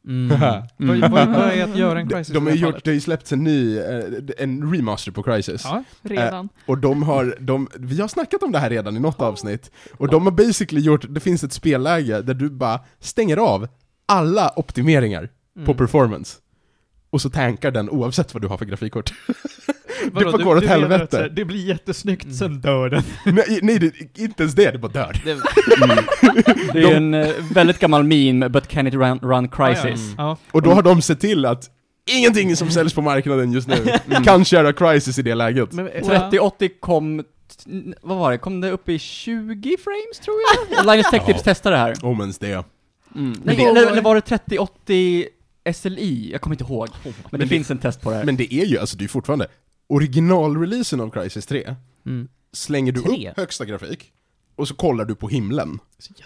S5: Mm.
S2: Vad,
S3: Mm.
S2: vad, vad är att göra en
S1: De,
S2: crisis
S1: de har
S2: i
S1: ju
S2: det här
S1: gjort, det har ju släppts en ny, eh, en remaster på Crisis.
S2: fallet?
S4: Redan.
S1: Och de har, de, vi har snackat om det här redan i något avsnitt, och de har basically gjort, det finns ett spelläge där du bara stänger av alla optimeringar
S2: Mm.
S1: på performance. Och så tankar den oavsett vad du har för grafikkort.
S2: Ja.
S1: Vadå, du- går åt du menar att helvete. så här,
S2: det blir jättesnyggt,
S3: Mm.
S2: sen dör den.
S1: nej, nej det, inte ens det, det bara dör.
S5: Det,
S3: Det är ju en eh, väldigt gammal meme, but can it run, run crisis?
S2: Ja.
S1: Och då har de sett till att ingenting som säljs på marknaden just nu
S5: Mm.
S1: kan köra Crisis i det läget.
S2: Men, eh,
S3: 3080 kom, t- vad var det, kom det upp i 20 frames tror jag? Linus Tech Tips
S1: Ja.
S3: testade det här.
S1: Om ens det.
S3: Nej,
S1: det-
S3: eller, eller var det 3080 SLI? Jag kommer inte ihåg. Men, det,
S1: det-
S3: finns en test på det här.
S1: Men det är ju, alltså det är fortfarande, originalreleasen av Crisis 3
S5: mm.
S1: slänger du
S5: Tre?
S1: upp högsta grafik och så kollar du på himlen.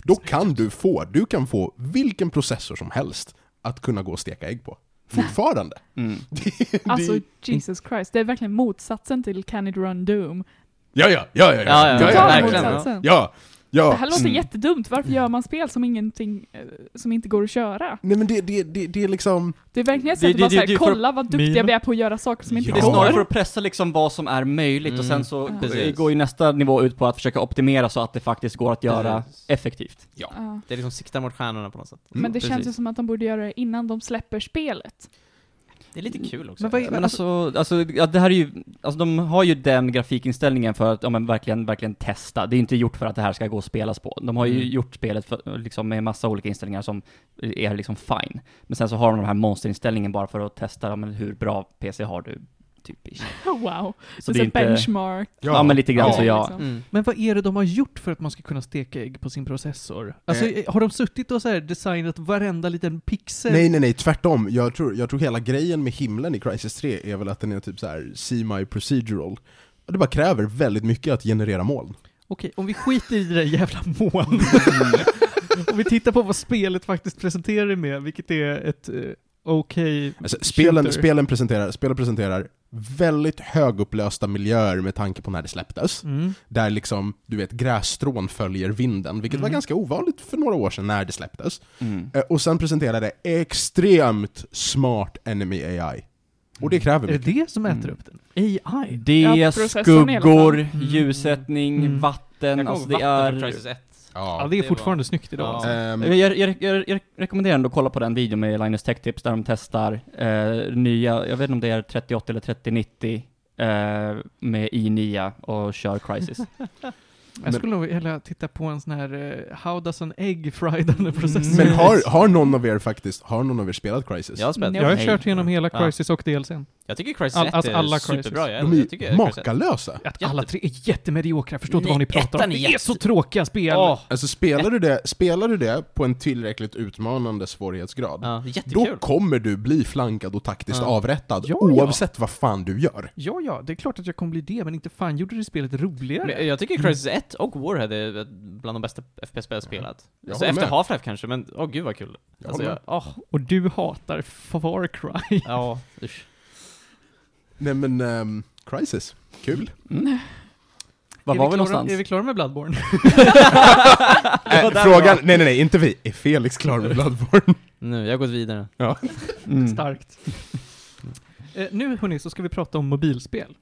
S1: Då kan du få, du kan få vilken processor som helst att kunna gå och steka ägg på. Fortfarande.
S3: Mm.
S4: Alltså Jesus Christ, det är verkligen motsatsen till Can it run Doom.
S1: Ja, ja, ja, ja,
S5: Ja, ja,
S1: ja,
S4: Totala
S1: ja,
S5: verkligen.
S1: ja,
S4: motsatsen.
S1: ja, ja.
S4: Det här låter
S3: Mm.
S4: jättedumt, varför gör man spel som ingenting, eh, som inte går att köra?
S1: Nej men det, det, det, det är liksom,
S4: Det är verkligen så
S3: Det-
S4: att bara
S3: det- det-
S4: såhär,
S3: det- för-
S4: kolla vad duktiga
S2: Meme.
S4: vi är på att göra saker som inte
S1: Ja.
S3: Det är
S4: går.
S3: snarare för att pressa liksom vad som är möjligt och
S5: Mm.
S3: sen så
S4: Ja.
S5: Precis.
S3: går ju nästa nivå ut på att försöka optimera så att det faktiskt går att göra
S5: Precis.
S3: effektivt.
S4: Ja.
S5: det är liksom siktar mot stjärnorna på något sätt.
S4: Men det
S5: Precis.
S4: känns ju som att de borde göra det innan de släpper spelet.
S5: Det är lite kul också.
S2: Men vad är-
S3: Men alltså, alltså ja, det här är ju, alltså de har ju den grafikinställningen för att, ja men verkligen, verkligen testa. Det är inte gjort för att det här ska gå att spelas på. De har ju
S5: Mm.
S3: gjort spelet för, liksom med massa olika inställningar som är liksom fine. Men sen så har de den här monsterinställningen bara för att testa, ja, men hur bra PC har du, typ. ish.
S4: Wow.
S3: Så
S4: det är en benchmark.
S3: Ja, men lite grann
S1: Ja,
S3: så ja.
S4: liksom.
S5: Mm.
S2: Men vad är det de har gjort för att man ska kunna steka ägg på sin processor? Alltså,
S1: Eh.
S2: har de suttit och så här designat varenda liten pixel?
S1: Nej nej nej, tvärtom. Jag tror, jag tror hela grejen med himlen i Crisis 3 är väl att den är typ så här semi-procedural. Och det bara kräver väldigt mycket att generera moln.
S2: Okej, om vi skiter i det där jävla molnet. om vi tittar på vad spelet faktiskt presenterar det med, vilket är ett eh, okej...
S1: Alltså, spelen,
S2: Shooter.
S1: spelen, presenterar, spelen presenterar väldigt högupplösta miljöer med tanke på när det släpptes.
S2: mm.
S1: Där liksom, du vet, grässtrån följer vinden, vilket var
S2: Mm.
S1: ganska ovanligt för några år sedan när det släpptes.
S3: Mm.
S1: Eh, Och sen presenterade extremt smart enemy AI. Och det kräver
S2: Är det
S1: mycket.
S2: det som äter
S3: Mm.
S2: upp den? AI?
S3: Det är
S4: Ja, processorn i alla
S3: skuggor,
S2: fall.
S3: ljussättning,
S2: Mm.
S3: vatten,
S5: Jag kommer
S3: alltså
S5: ihåg
S3: det
S5: vatten från
S3: är...
S5: Crisis 1.
S2: Ja,
S1: Ja.
S2: det är
S5: det
S2: fortfarande snyggt idag.
S5: Ja.
S2: alltså.
S1: Ehm,
S3: Jag, jag, jag, jag, jag rekommenderar ändå att kolla på den videon med Linus Tech Tips där de testar eh, nya, jag vet inte om det är 3080 eller 3090 eh, med i9 och kör Crisis.
S2: Jag skulle nog vilja titta på en sån här eh, How does an egg fried under process?
S1: Mm. men har, har någon av er faktiskt, har någon av er spelat Crisis?
S5: Jag har spelat.
S4: Nej.
S2: Jag har
S3: Nej.
S2: kört igenom hela
S5: Ja.
S2: Crisis och DLCn.
S5: Jag tycker Crisis
S2: All-
S5: 1
S2: alltså
S5: är
S2: alla Crysis.
S5: superbra. Jag,
S1: De är
S5: jag tycker
S1: ju
S5: Crysis 1.
S1: makalösa!
S2: Att alla tre är jättemediokra, jag förstår inte
S5: Nej,
S2: vad ni pratar om.
S5: ettan är
S2: Det är
S5: jätte-
S2: så tråkiga spel!
S5: Åh,
S1: Alltså spelar du, det, spelar du det på en tillräckligt utmanande svårighetsgrad,
S5: ja,
S1: då
S5: jättekul.
S1: kommer du bli flankad och taktiskt
S5: Ja.
S1: avrättad,
S2: Ja, ja.
S1: oavsett vad fan du gör.
S2: Ja, ja, det är klart att jag kommer bli det, men inte fan gjorde det spelet roligare.
S5: Men jag tycker Crisis 1 och Warhead är ett- bland de bästa FPS-spel jag spelat.
S1: Jag
S5: Så
S1: håller
S5: efter
S1: med.
S5: Half-Life kanske, men åh gud vad kul.
S1: Jag
S5: Alltså,
S1: håller
S5: jag, åh,
S2: Och du hatar Far Cry.
S5: ja, usch.
S1: Nej men, ehm, Crisis. Kul.
S3: Var
S2: Är
S3: var vi
S2: klara-
S3: någonstans?
S2: Är vi klara med Bloodborne?
S1: Äh, frågan, nej nej nej, inte vi. Är Felix klar med Bloodborne?
S5: Nu, jag har gått vidare.
S3: Mm.
S2: Starkt. Eh, nu hörni, så ska vi prata om mobilspel.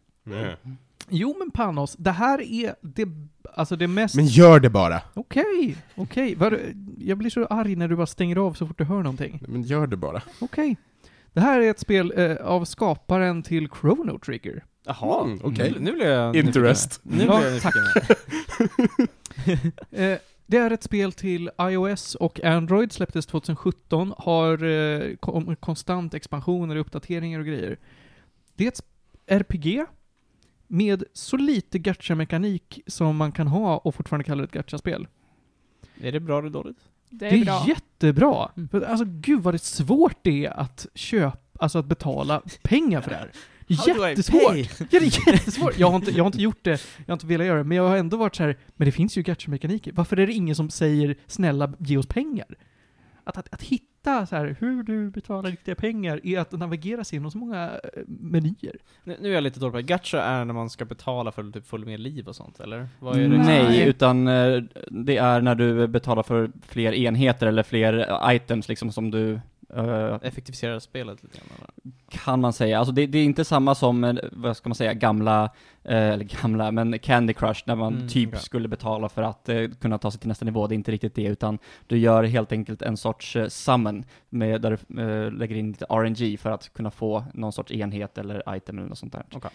S2: Jo men Panos, det här är det, alltså det mest...
S1: Men gör det bara.
S2: Okej, okej. Var- Jag blir så arg när du bara stänger av så fort du hör någonting.
S1: Nej, Men gör det bara.
S2: Okej. Det här är ett spel eh, av skaparen till Chrono Trigger.
S5: Jaha,
S1: Mm, okej.
S5: nu, nu blir jag
S1: Interest.
S5: nyfiken. Nu blir jag
S2: Ja, tack.
S5: nyfiken.
S2: Eh, det är ett spel till iOS och Android, släpptes 2017, har eh, kom, konstant expansioner, uppdateringar och grejer. Det är ett RPG med så lite gacha-mekanik som man kan ha och fortfarande kalla det ett gacha-spel.
S5: Är det bra eller dåligt?
S4: Det
S2: Det
S4: är,
S2: är,
S4: bra.
S2: jättebra!
S5: Mm.
S2: För, alltså gud vad det är svårt det är att köpa, alltså att betala pengar för det här. Jättesvårt! Ja, det är jättesvårt. Jag har, inte, jag har inte gjort det, jag har inte velat göra det, men jag har ändå varit så här. men det finns ju gacha-mekaniker. Varför är det ingen som säger snälla ge oss pengar? Att, att, att hitta så här, hur du betalar riktiga pengar är att navigera sig inom så många eh, menyer.
S5: Nu, nu är jag lite dålig på det. Gacha är när man ska betala för att typ få mer liv och sånt, eller? Vad är det?
S3: Nej,
S4: Nej.
S3: utan eh, det är när du betalar för fler enheter eller fler items liksom som du eh,
S5: Effektivisera spelet lite grann, eller?
S3: kan man säga. Alltså det, det är inte samma som, eh, vad ska man säga, gamla, eh, eller gamla, men Candy Crush när man
S5: Mm,
S3: typ
S5: okej.
S3: skulle betala för att eh, kunna ta sig till nästa nivå. Det är inte riktigt det, utan du gör helt enkelt en sorts eh, summon med, där du eh, lägger in lite RNG för att kunna få någon sorts enhet eller item eller något sånt där.
S5: Okej.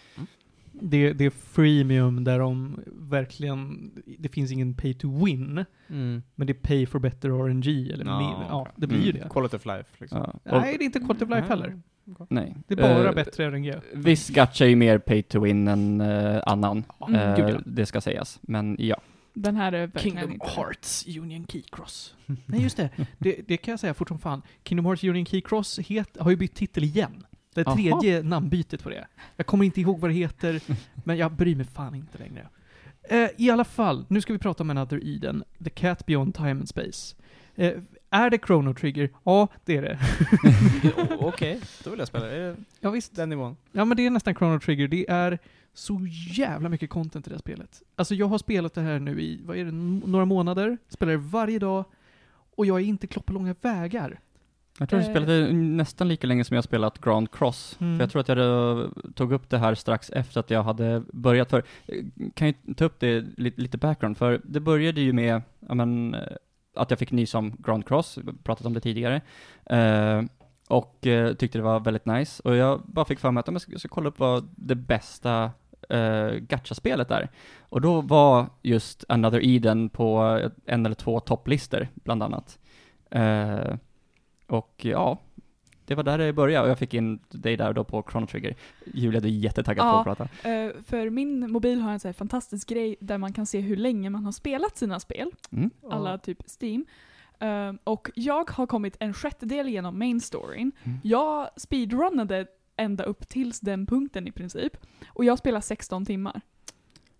S2: Det, det är freemium där de verkligen, det finns ingen pay to win,
S5: Mm.
S2: men det är pay for better RNG eller
S5: Ja,
S2: mer. Ja,
S5: okej.
S2: det blir ju
S3: Mm.
S2: det.
S5: Quality of life, liksom. Ah.
S3: Ja. Och-
S2: Nej, det är inte quality of life heller.
S3: nej.
S2: Det är bara
S3: Eh,
S2: bättre RNG.
S3: Viss gacha är ju mer pay to win än eh, annan.
S4: Mm,
S3: Eh,
S2: gud ja.
S3: Det ska sägas. Men ja.
S4: Den här är verkligen
S2: Kingdom
S4: inte
S2: Hearts Union Key Cross. Nej just det. det, det kan jag säga fort som fan. Kingdom Hearts Union Key Cross het, har ju bytt titel igen. Det är
S3: Jaha.
S2: tredje namnbytet på det. Jag kommer inte ihåg vad det heter, men jag bryr mig fan inte längre. Eh, I alla fall, nu ska vi prata om Another Eden, The Cat Beyond Time and Space. Eh, är det Chrono Trigger? Ja, det är det.
S5: O- Okej, då vill jag spela. Är det
S2: Ja, visst.
S5: den nivån?
S2: Ja men det är nästan Chrono Trigger. Det är så jävla mycket content i det här spelet. Alltså jag har spelat det här nu i, vad är det, n- några månader. Spelar det varje dag. Och jag är inte klock på långa vägar.
S3: Jag tror jag
S4: Eh.
S3: spelade nästan lika länge som jag spelat Grand Cross.
S2: Mm.
S3: För jag tror att jag eh, tog upp det här strax efter att jag hade börjat. För eh, kan ju ta upp det lite, lite background. För det började ju med ja, men, eh, att jag fick nys om Grand Cross. Vi har pratat om det tidigare. Eh, och eh, tyckte det var väldigt nice. Och jag bara fick för mig att ja, men jag ska, jag ska kolla upp vad det bästa uh, gacha-spelet är. Och då var just Another Eden på eh, en eller två topplistor, bland annat. Eh, och ja, det var där det började och jag fick in dig där då på Chrono Trigger. Julia, du är jättetaggad på
S4: Ja.
S3: att prata.
S4: Eh, för min mobil har en så här fantastisk grej där man kan se hur länge man har spelat sina spel.
S3: Mm.
S4: Alla typ Steam. Eh, och jag har kommit en sjättedel genom main storyn.
S3: Mm.
S4: Jag speedrunnade ända upp tills den punkten i princip. Och jag spelar 16 timmar.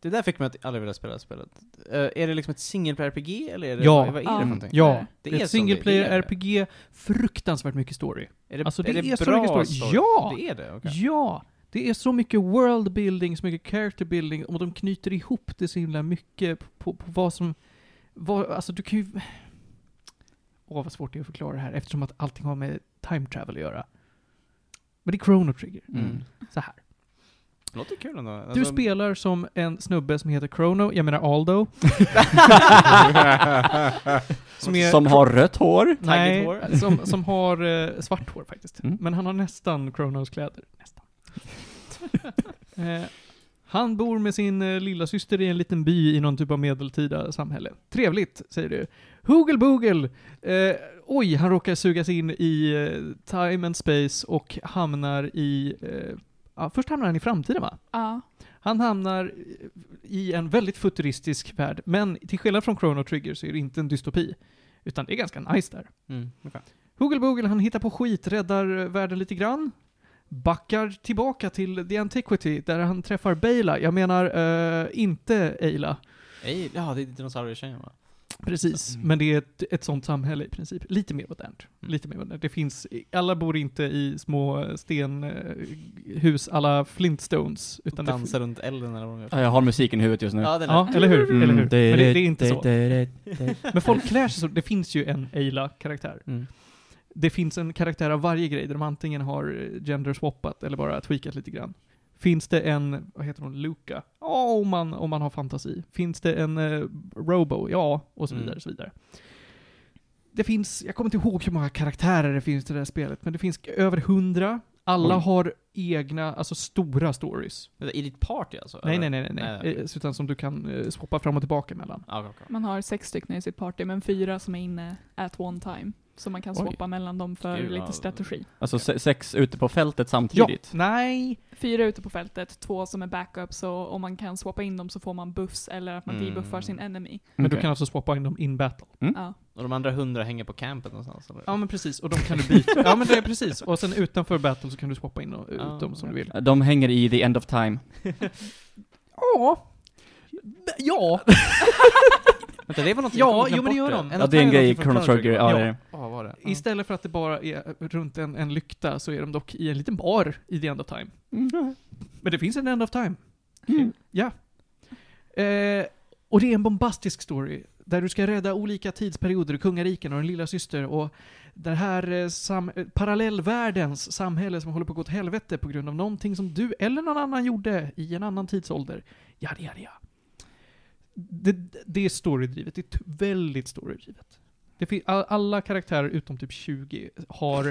S5: Det där fick mig att aldrig vilja spela spelet. Eh, är det liksom ett single player RPG eller är det,
S2: Ja.
S5: vad är det
S4: Ja.
S5: för någonting?
S2: Ja, det
S5: Det
S2: är
S5: är
S2: ett
S5: som
S2: single
S5: det-
S2: player
S5: det är det.
S2: RPG. Fruktansvärt mycket story.
S5: Är det,
S2: Alltså, det
S5: är
S2: är
S5: det
S2: så
S5: bra
S2: mycket story. Ja!
S5: Det är det? okej.
S2: Ja! Det är så mycket world building, så mycket character building och de knyter ihop det så himla mycket på, på vad som... Vad, alltså du kan ju... Åh, vad svårt det är att förklara det här eftersom att allting har med time travel att göra. Men det är Chrono Trigger.
S3: Mm.
S2: så här.
S5: Det låter kul ändå. Alltså-
S2: Du spelar som en snubbe som heter Chrono, jag menar Aldo. som är,
S3: Som har rött hår.
S5: taggigt
S2: nej,
S5: hår.
S2: som, som har eh, svart hår faktiskt.
S3: Mm.
S2: Men han har nästan Chronos kläder. Nästan. eh, han bor med sin eh, lilla syster i en liten by i någon typ av medeltida samhälle. Trevligt, säger du. Hoogle Boogle! Eh, oj, han råkar sugas in i eh, time and space och hamnar i... Eh, ja, först hamnar han i framtiden va?
S4: Ja.
S2: Han hamnar i en väldigt futuristisk värld, men till skillnad från Chrono Trigger så är det inte en dystopi. Utan det är ganska nice där.
S5: Mm, okej.
S2: Hoogle Boogle, han hittar på skit, räddar eh, världen lite grann. Backar tillbaka till The Antiquity, där han träffar Bela. Jag menar, eh, inte Eila.
S5: Ej, Ja, det är dinosaurietjejen va?
S2: Precis, Mm. men det är ett, ett sånt samhälle i princip. Lite mer modernt. Lite mer modernt. Det finns, alla bor inte i små stenhus alla Flintstones. Utan det-
S5: Dansar runt elden eller vad de gör.
S3: Ja, Jag har musiken i huvudet just nu.
S5: Ja, det är
S2: Ja, eller hur? eller hur? Men det, det är inte så.
S3: så.
S2: Men folk klär sig så. Det finns ju en Eila-karaktär.
S5: Mm.
S2: Det finns en karaktär av varje grej där de antingen har eh, gender-swappat eller bara tweakat lite grann. Finns det en, vad heter hon, Luca? Ja, om, man, om man har fantasi. Finns det en eh, Robo? Ja, och så
S5: Mm.
S2: vidare. och så vidare. Det finns, jag kommer inte ihåg hur många karaktärer det finns i det här spelet, men det finns över hundra. Alla
S3: Oj.
S2: har egna, alltså stora stories.
S5: I ditt party alltså?
S2: Nej, nej,
S5: eller?
S2: nej, nej.
S5: Nej,
S2: nej.
S5: okej.
S2: Eh, Utan som du kan eh, swappa fram och tillbaka mellan.
S5: Ja, okej, okej.
S4: Man har sex stycken i sitt party, men fyra som är inne at one time. Så man kan
S2: Oj.
S4: swappa mellan dem för
S5: Gud,
S4: lite
S5: vad-
S4: strategi.
S3: Alltså se- sex ute på fältet
S2: Ja,
S3: samtidigt.
S2: nej,
S4: Fyra ute på fältet, två som är backups och om man kan swappa in dem så får man buffs eller att man
S5: Mm.
S4: debuffar sin enemy.
S2: Men du
S3: Okej.
S2: kan alltså swappa in dem in battle.
S4: Ja.
S5: Och de andra hundra hänger på campen någonstans eller?
S2: Ja men precis, och de kan du byta. ja men det är precis. Och sen utanför battle så kan du swappa in dem, ut
S5: Ah,
S2: dem som du vill.
S3: De hänger i the end of time.
S2: Ja. Ja.
S5: Vänta, det var något
S2: Ja,
S5: jag glömt
S2: jo, men det
S5: bort
S2: gör de.
S5: End
S3: Ja,
S5: of
S3: det är en
S5: Time
S3: grej i
S5: någonting från
S3: Chrono Trigger. Ja, det är det.
S5: Ja, var det?
S2: Istället för att det bara är runt en, en lykta så är de dock i en liten bar i the end of time.
S3: Mm.
S2: Men det finns en end of time. Ja. Eh, och det är en bombastisk story. Där du ska rädda olika tidsperioder, kungariken och en lilla syster och den här eh, sam- eh, parallellvärldens samhälle som håller på att gå åt helvete på grund av någonting som du eller någon annan gjorde i en annan tidsålder. Yada, yada, yada. Det, det är storydrivet. Det är t- väldigt storydrivet. Det fin- a- alla karaktärer utom typ 20 har...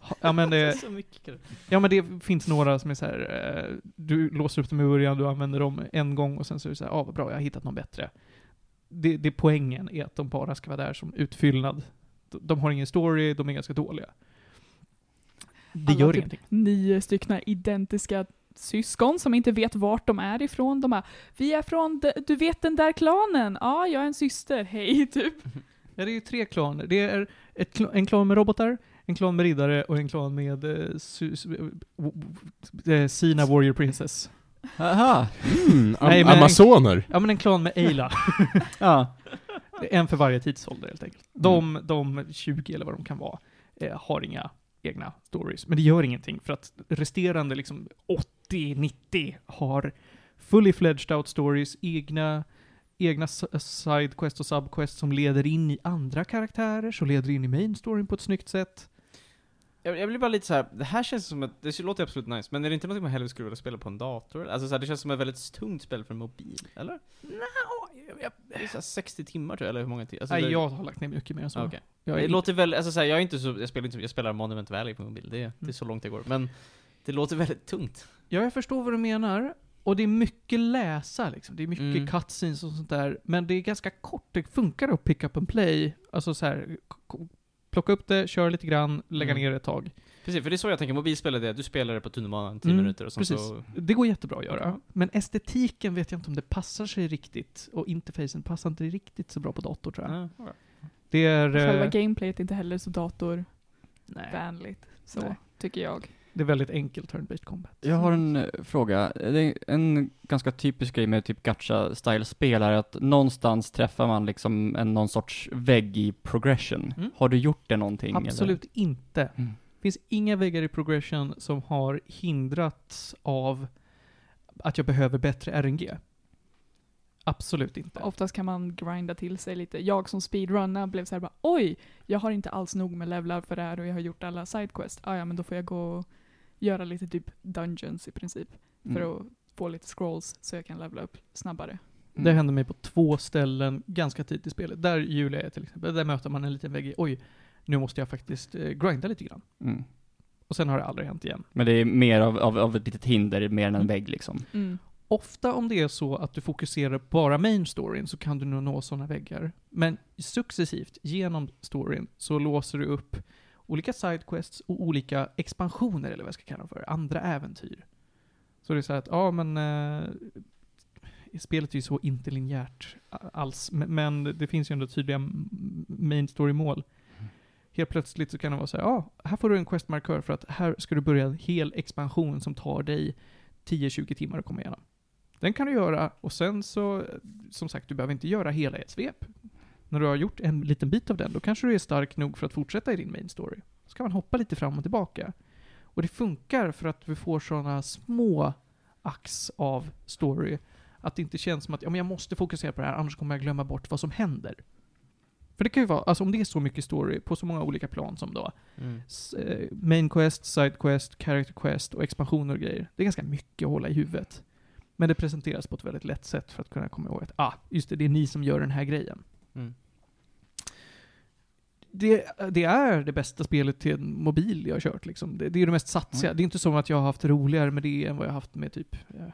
S2: ha- Ja men eh, det,
S5: så mycket
S2: Ja men det finns några som är så här. eh, du låser upp dem i början, du använder dem en gång och sen så är det så här, ah, vad bra, jag har hittat någon bättre. Det, det poängen är att de bara ska vara där som utfyllnad. De, de har ingen story, de är ganska dåliga. Alltså, Det
S4: Alla
S2: gör
S4: typ-
S2: ingenting.
S4: Nio stycken identiska syskon som inte vet vart de är ifrån. De bara ”Vi är från, d- du vet den där klanen? Ja, jag är en syster, hej” typ.
S2: Ja, det är ju tre klaner. Det är ett, kl- en klan med robotar, en klan med riddare och en klan med eh, su, su, w- w- eh, Sina Warrior Princess.
S3: Aha.
S1: Mm, am-
S2: Nej, men-
S1: Amazoner.
S2: Ja men en klan med Eila.
S3: Ja.
S2: En för varje tidsålder helt enkelt.
S5: Mm.
S2: De, de 20 eller vad de kan vara eh, har inga egna stories. Men det gör ingenting för att resterande liksom 80-90 har fully fledged out stories, egna, egna s- sidequest och subquest som leder in i andra karaktärer, som leder in i main storyn på ett snyggt sätt.
S5: jag, jag blir bara lite så här. det här känns som ett, det låter absolut nice, men är det inte något man hellre skulle vilja spela på en dator? Alltså så här, det känns som ett väldigt tungt spel för en mobil, eller? Det är så här 60 timmar tror jag, eller hur många timmar? Alltså,
S2: Nej,
S5: det,
S2: jag har lagt ner mycket mer än så.
S5: Ah,
S2: Okay.
S5: okej. det låter väl, alltså så här, jag är inte så, jag spelar inte, jag spelar Monument Valley på mobil, det, det är så långt det går. Men det låter väldigt tungt.
S2: Ja, jag förstår vad du menar. Och det är mycket läsa liksom. Det är mycket
S5: Mm.
S2: cutscenes och sånt där. Men det är ganska kort. Det funkar att pick up and play. Alltså så här, k- k- plocka upp det, köra lite grann, lägga
S5: Mm.
S2: ner det ett tag.
S5: Precis, för det är så jag tänker, mobilspel är det, du spelar det på tunnelbanan 10
S2: Mm,
S5: minuter och sen
S2: precis.
S5: så...
S2: Det går jättebra att göra. Men estetiken vet jag inte om det passar sig riktigt. Och interfacen passar inte riktigt så bra på dator tror jag.
S5: Ja, okej.
S2: Det är,
S4: Själva
S2: eh,
S4: gameplayet är inte heller så datorvänligt,
S2: nej,
S4: så
S2: Nej.
S4: tycker jag.
S2: det är väldigt enkelt turn-based combat.
S3: Jag har en eh, fråga. Det är en ganska typisk grej med typ gacha-style-spel är att någonstans träffar man liksom en, någon sorts vägg i progression.
S2: Mm.
S3: Har du gjort det någonting? eller?
S2: Absolut inte.
S3: Mm.
S2: Det finns inga väggar i progression som har hindrats av att jag behöver bättre RNG. Absolut inte.
S4: Oftast kan man grinda till sig lite. Jag som speedrunner blev så här bara oj, jag har inte alls nog med levlar för det här och jag har gjort alla sidequests. Ah, ja, men då får jag gå och göra lite typ dungeons i princip för
S3: Mm.
S4: att få lite scrolls så jag kan levla upp snabbare.
S3: Mm.
S2: Det hände mig på två ställen ganska tidigt i spelet. Där Julia är till exempel, där möter man en liten vägg i, oj, nu måste jag faktiskt eh, grinda lite grann.
S3: Mm.
S2: Och sen har det aldrig hänt igen.
S3: Men det är mer av, av, av ett litet hinder, mer än en vägg liksom.
S4: Mm.
S2: Ofta om det är så att du fokuserar på bara main storyn så kan du nog nå sådana väggar. Men successivt genom storyn så låser du upp olika sidequests och olika expansioner, eller vad jag ska kalla dem för, andra äventyr. Så det är så här att, ja men... Eh, spelet är ju så inte linjärt a- alls, men- men det finns ju ändå tydliga m- main story-mål. Helt plötsligt så kan det vara så här, ja, här får du en questmarkör för att här ska du börja en hel expansion som tar dig 10-20 timmar att komma igenom. Den kan du göra och sen så, som sagt, du behöver inte göra hela i ett svep. När du har gjort en liten bit av den, då kanske du är stark nog för att fortsätta i din main story. Så kan man hoppa lite fram och tillbaka. Och det funkar för att vi får sådana små ax av story. Att det inte känns som att ja, men jag måste fokusera på det här, annars kommer jag glömma bort vad som händer. För det kan ju vara, alltså om det är så mycket story på så många olika plan som då,
S5: Mm.
S2: s- eh, main quest, side quest, character quest och expansioner och grejer. Det är ganska mycket att hålla i huvudet. Men det presenteras på ett väldigt lätt sätt för att kunna komma ihåg att ah, just det, det är ni som gör den här grejen.
S5: Mm.
S2: Det, det är det bästa spelet till en mobil jag har kört liksom. Det, det är det mest
S5: Mm.
S2: satsiga. Det är inte som att jag har haft roligare med det än vad jag har haft med typ eh,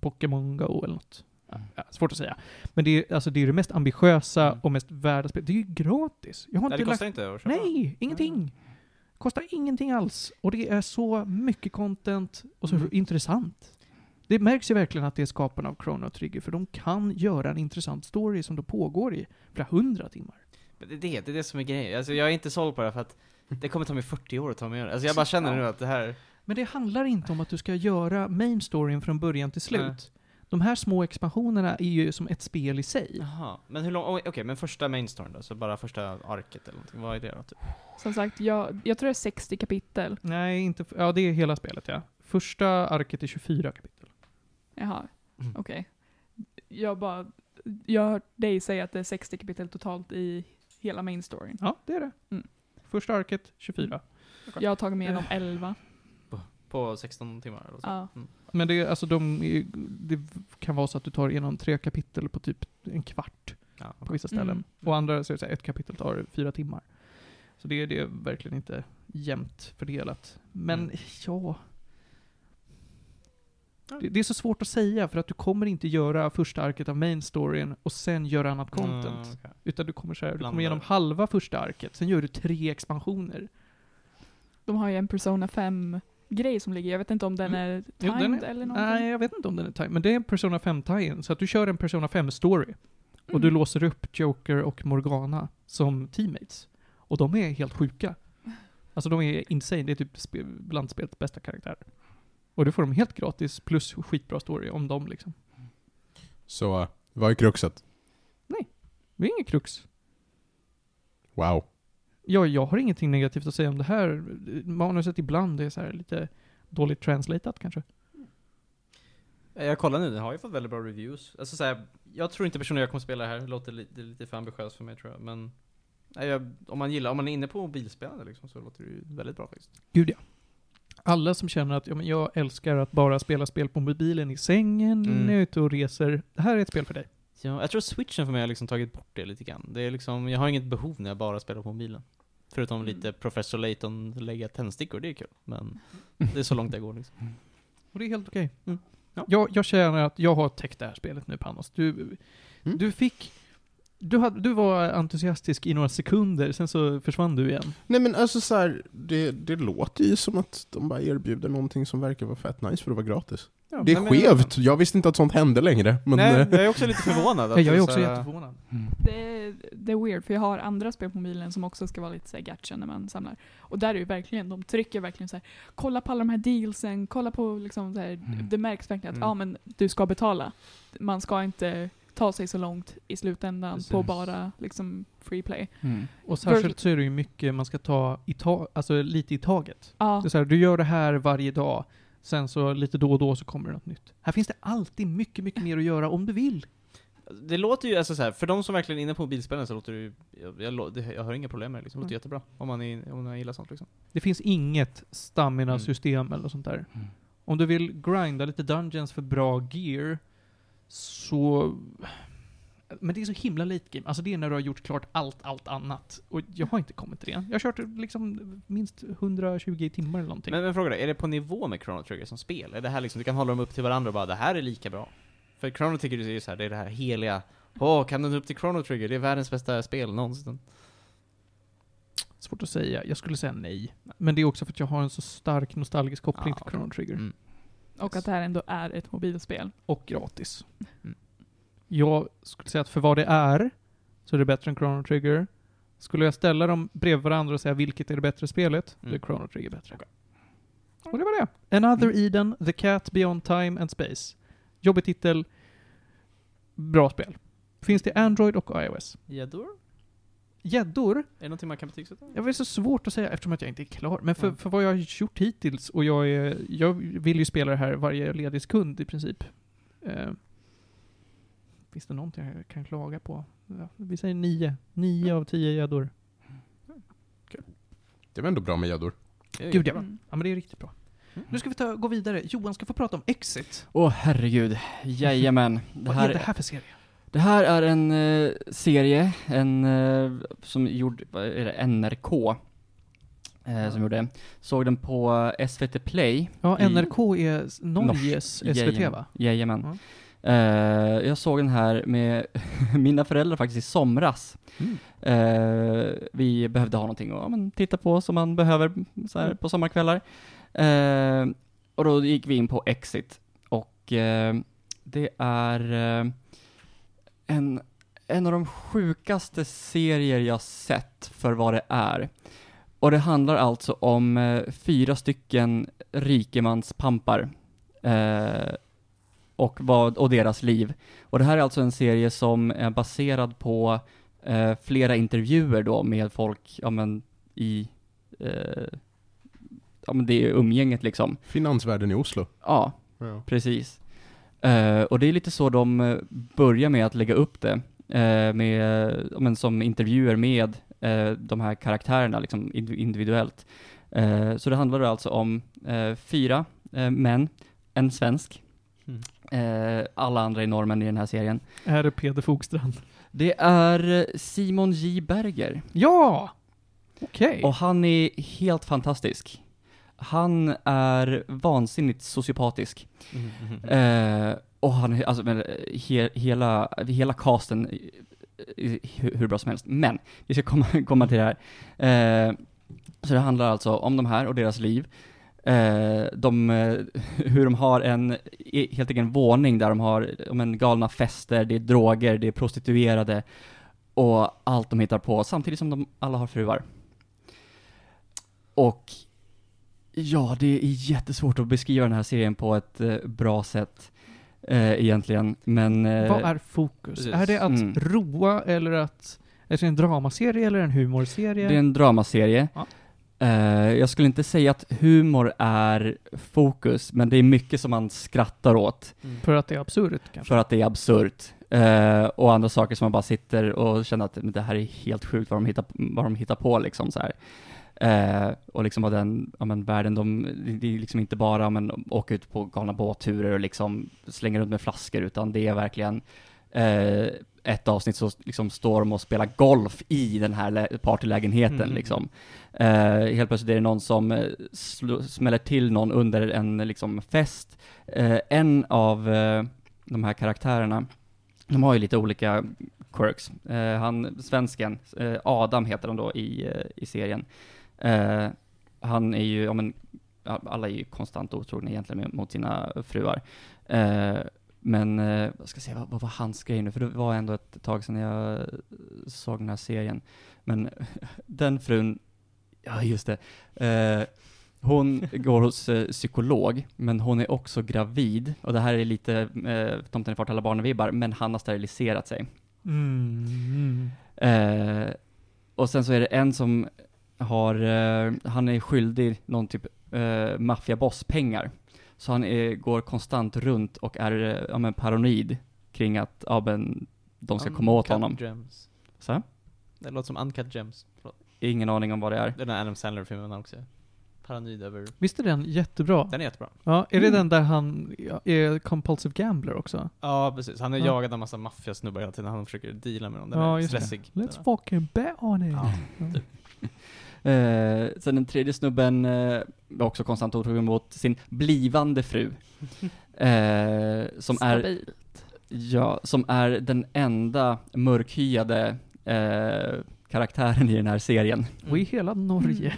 S2: Pokémon Go eller något.
S3: Mm.
S2: Ja, svårt att säga. Men det är, alltså, det, är det mest ambitiösa
S5: Mm.
S2: och mest värda spelet. Det är ju gratis. Jag har
S5: Nej,
S2: inte
S5: det
S2: lagt
S5: kostar inte att köpa.
S2: Nej, ingenting. Kostar ingenting alls. Och det är så mycket content och så
S5: Mm.
S2: intressant. Det märks ju verkligen att det är skaparna av Chrono Trigger, för de kan göra en intressant story som då pågår i flera hundra timmar.
S5: Men Det, är det, det är det som är grejen. Alltså, jag är inte såld på det här för att det kommer ta mig 40 år att ta mig igenom det. Alltså jag bara känner nu att det här...
S2: Men det handlar inte om att du ska göra main storyn från början till slut.
S5: Nej.
S2: De här små expansionerna är ju som ett spel i sig.
S5: Jaha. Men hur lång... Okej, men första mainstoryn då? Så bara första arket eller någonting. Vad är det då? Typ?
S4: Som sagt, jag, jag tror det är 60 kapitel.
S2: Nej, inte... f- Ja, det är hela spelet ja. Första arket är 24 kapitel.
S4: Jaha,
S5: Mm.
S4: okej. Jag bara, jag har hört dig säga att det är 60 kapitel totalt i hela main storyn.
S2: Ja, det är det.
S4: Mm.
S2: Första arket, 24.
S4: Jag har tagit mig igenom 11.
S5: På 16 timmar eller så. Mm.
S4: Ja.
S2: Men det, är- alltså de, är- det kan vara så att du tar igenom tre kapitel på typ en kvart
S5: Ja, okej.
S2: på vissa ställen.
S4: Mm.
S2: Och andra, så är det så här, ett kapitel tar fyra timmar. Så det, det är verkligen inte jämnt fördelat. Men
S5: Mm.
S2: ja... Det, det är så svårt att säga, för att du kommer inte göra första arket av main storyn och sen göra annat content.
S5: Mm, okej.
S2: Utan du kommer, så här, du kommer
S5: Blandar.
S2: igenom halva första arket, sen gör du tre expansioner.
S4: De har ju en Persona 5-grej som ligger, jag vet inte om den är
S2: Mm. Jo, den
S4: timed
S2: är-
S4: eller någonting.
S2: Nej, jag vet inte om den är time, men det är en Persona 5 tie-in. Så att du kör en Persona 5-story och
S4: Mm.
S2: du låser upp Joker och Morgana som teammates. Och de är helt sjuka. Alltså de är insane, det är typ spe- bland spelets bästa karaktärer. Och du får dem helt gratis plus skitbra story om dem liksom.
S1: Så, eh, vad är kruxet?
S2: Det är inget krux.
S1: Wow.
S2: Ja, jag har ingenting negativt att säga om det här. Manuset ibland är så här lite dåligt translatat kanske.
S5: Eh, Jag kollar nu, den har ju fått väldigt bra reviews. Alltså så här, jag tror inte personer jag kommer spela det här, det låter li- det är lite för ambitiöst för mig tror jag. Men nej, jag, om man gillar, om man är inne på mobilspelande liksom, så låter det ju väldigt bra faktiskt.
S2: Gud ja. Alla som känner att ja, men jag älskar att bara spela spel på mobilen i sängen,
S5: Mm.
S2: när jag är ute och reser. Det här är ett spel för dig.
S5: Ja, jag tror switchen för mig har liksom tagit bort det lite grann. Det är liksom, jag har inget behov när jag bara spelar på mobilen. Förutom
S4: Mm.
S5: lite Professor Layton lägga tändstickor, det är kul. Men det är så långt det går liksom.
S2: Och det är helt okej.
S5: Mm. Ja.
S2: Jag, jag känner att jag har täckt det här spelet nu Panos. Du,
S5: Mm.
S2: du fick... Du, hade, du var entusiastisk i några sekunder, sen så försvann du igen.
S1: Nej men alltså så här, det, det låter ju som att de bara erbjuder någonting som verkar vara fett nice för att vara gratis. Det är
S5: Nej, men-
S1: skevt, jag visste inte att sånt hände längre. Men
S5: Nej,
S1: eh,
S5: jag är också lite förvånad.
S2: Ja, jag
S5: det
S2: är
S5: så
S2: också
S5: här-
S2: jätteförvånad.
S4: Det, är- det är weird, för jag har andra spel på mobilen som också ska vara lite såhär gacha när man samlar. Och där är ju verkligen, de trycker verkligen såhär, kolla på alla de här dealsen, kolla på liksom såhär, det märks verkligen att
S5: Mm.
S4: ja men du ska betala. Man ska inte ta sig så långt i slutändan på
S5: Precis.
S4: bara liksom free play.
S3: Mm.
S2: Och särskilt så är det ju mycket man ska ta i ta, alltså lite i taget.
S4: Ja,
S2: Det är så här, du gör det här varje dag, sen så lite då och då så kommer det något nytt. Här finns det alltid mycket, mycket mer att göra om du vill.
S5: Det låter ju, alltså så här, för de som verkligen är inne på mobilspelen så låter det ju, jag, jag, lå- det- jag har inga problem med det liksom. Det låter
S2: Mm.
S5: jättebra. Om man, är, om man gillar sånt liksom. Mm.
S2: Det finns inget stamina-system eller sånt där. Om du vill grinda lite dungeons för bra gear, så... Men det är så himla late game. Alltså det är när du har gjort klart allt, allt annat. Och jag har inte kommit till det än. Jag har kört liksom minst 120 timmar eller någonting.
S5: Men, men fråga dig, är det på nivå med Chrono Trigger som spel? Är det här liksom, du kan hålla dem upp till varandra och bara det här är lika bra? För Chrono Trigger är ju så här, det är det här heliga, åh, kan den upp till Chrono Trigger? Det är världens bästa spel någonsin.
S2: Svårt att säga. Jag skulle säga nej. Men det är också för att jag har en så stark nostalgisk koppling
S5: Ah,
S2: till
S5: okej.
S2: Chrono Trigger.
S5: Mm.
S4: Och att det här ändå är ett mobilspel.
S2: Och gratis.
S5: Mm.
S2: Jag skulle säga att för vad det är, så är det bättre än Chrono Trigger. Skulle jag ställa dem bredvid varandra och säga vilket är det bättre spelet, då är
S5: Mm.
S2: Chrono Trigger bättre. Och det var det. Another Eden, The Cat Beyond Time and Space. Jobbig titel. Bra spel. Finns det Android och iOS?
S5: Gäddor?
S2: Gäddor?
S5: Är det någonting man kan betygsätta?
S2: Jag vet så svårt att säga eftersom att jag inte är klar. Men för,
S5: Mm.
S2: för vad jag har gjort hittills, och jag, är, jag vill ju spela det här varje ledig sekund i princip. Eh, finns det någonting jag kan klaga på? Ja, vi säger nio. Nio av tio gäddor.
S1: Det var ändå bra med gäddor.
S2: Gud ja.
S4: Mm.
S2: ja, men det är riktigt bra.
S5: Mm.
S2: Nu ska vi ta, gå vidare. Johan ska få prata om Exit.
S3: Åh herregud, jajamän. Det
S2: Vad
S3: här,
S2: är det här för serie?
S3: det här är en eh, serie, en, eh, som gjord, vad är det, NRK, eh, som gjorde den. Såg den på eh, SVT Play.
S2: Ja,
S3: I-
S2: NRK är s- Norges SVT
S3: Jajamän.
S2: va?
S3: Jajamän. Eh, jag såg den här med mina föräldrar faktiskt i somras.
S2: Mm.
S3: Eh, vi behövde ha någonting att ja, men, titta på som man behöver så
S2: Mm.
S3: här, på sommarkvällar. Eh, och då gick vi in på Exit och eh, det är eh, en, en av de sjukaste serier jag sett för vad det är. Och det handlar alltså om eh, fyra stycken rikemanspampar eh, och, vad, och deras liv. Och det här är alltså en serie som är baserad på eh, flera intervjuer då med folk, ja men i, eh, ja men det är umgänget liksom.
S1: Finansvärlden i Oslo.
S3: Ja,
S1: Ja.
S3: precis. Eh, och det är lite så de eh, börjar med att lägga upp det, eh, med, ja, men som intervjuer med eh, de här karaktärerna liksom indi- individuellt. Eh, så det handlar då alltså om eh, fyra eh, män, en svensk,
S5: Mm.
S3: eh, alla andra är norrmän i den här serien.
S2: Är det Peder Fogstrand?
S3: Det är eh, Simon J. Berger.
S2: Ja! Okej.
S3: Och han är helt fantastisk. Han är vansinnigt sociopatisk.
S5: Mm,
S3: Eh, och han är, alltså, men, eh, he, hela, hela casten eh, eh, hur, hur bra som helst. Men, vi ska komma, komma till det här. Eh, så det handlar alltså om de här och deras liv. Eh, de, eh, hur de har en, e- helt enkelt en våning där de har om en galna fester, det är droger, det är prostituerade och allt de hittar på, samtidigt som de alla har fruar. Och ja, det är jättesvårt att beskriva den här serien på ett eh, bra sätt eh, egentligen, men... eh,
S2: Vad är fokus?
S5: precis.
S2: Är det att
S3: Mm.
S2: roa eller att... Är det en dramaserie eller en humorserie?
S3: Det är en dramaserie.
S2: Ja.
S3: Eh, jag skulle inte säga att humor är fokus, men det är mycket som man skrattar åt
S5: Mm.
S2: För att det är absurt kanske?
S3: för att det är absurt. Eh, och andra saker som man bara sitter och känner att men det här är helt sjukt vad de hittar, vad de hittar på liksom så här. Eh, och liksom vad den, ja men världen, de, det är liksom inte bara ja, men åka ut på galna båtturer och liksom slänga runt med flaskor, utan det är verkligen eh, ett avsnitt så liksom står de och spelar golf i den här lä- partylägenheten
S5: Mm.
S3: liksom. Eh, helt plötsligt är det någon som eh, slå, smäller till någon under en liksom fest. Eh, en av eh, de här karaktärerna, de har ju lite olika quirks. Eh, han, svensken, eh, Adam heter han då i, eh, i serien. Eh, han är ju, ja men, ja, alla är ju konstant otrogna egentligen med- mot sina fruar. Eh, men, eh, jag ska se, vad, vad var hans grej nu? För det var ändå ett tag sedan jag eh, såg den här serien. Men den frun, ja just det, eh, hon går hos eh, psykolog, men hon är också gravid. Och det här är lite eh, Tomten är fart alla barnen-vibbar, men han har steriliserat sig.
S2: Mm. Mm.
S3: Eh, och sen så är det en som har, eh, han är skyldig någon typ eh, maffiaboss pengar. Så han är, går konstant runt och är eh, ja, men paranoid kring att ja, men, de ska komma åt honom.
S5: Gems.
S3: Så? här.
S5: Det låter som Uncut Gems. Förlåt.
S3: Ingen aning om vad det är.
S5: Den där Adam Sandler-filmen också. paranoid över...
S2: Visst är den jättebra?
S5: Den är jättebra.
S2: Ja, är det
S4: Mm.
S2: den där han ja, är compulsive gambler också?
S5: Ja, precis. Han är
S2: Ja.
S5: jagad av massa maffiasnubbar hela tiden. Han försöker deala med dem. Den
S2: Ja,
S5: är
S2: just det.
S5: stressig. Den
S2: Let's
S5: är-
S2: fucking bet on it!
S5: Ja.
S3: Eh, sen den tredje snubben eh, var också konstant otrogen mot sin blivande fru. Eh, som är,
S4: Stabil.
S3: ja, som är den enda mörkhyade eh, karaktären i den här serien.
S2: Och i hela
S5: Mm.
S2: Norge.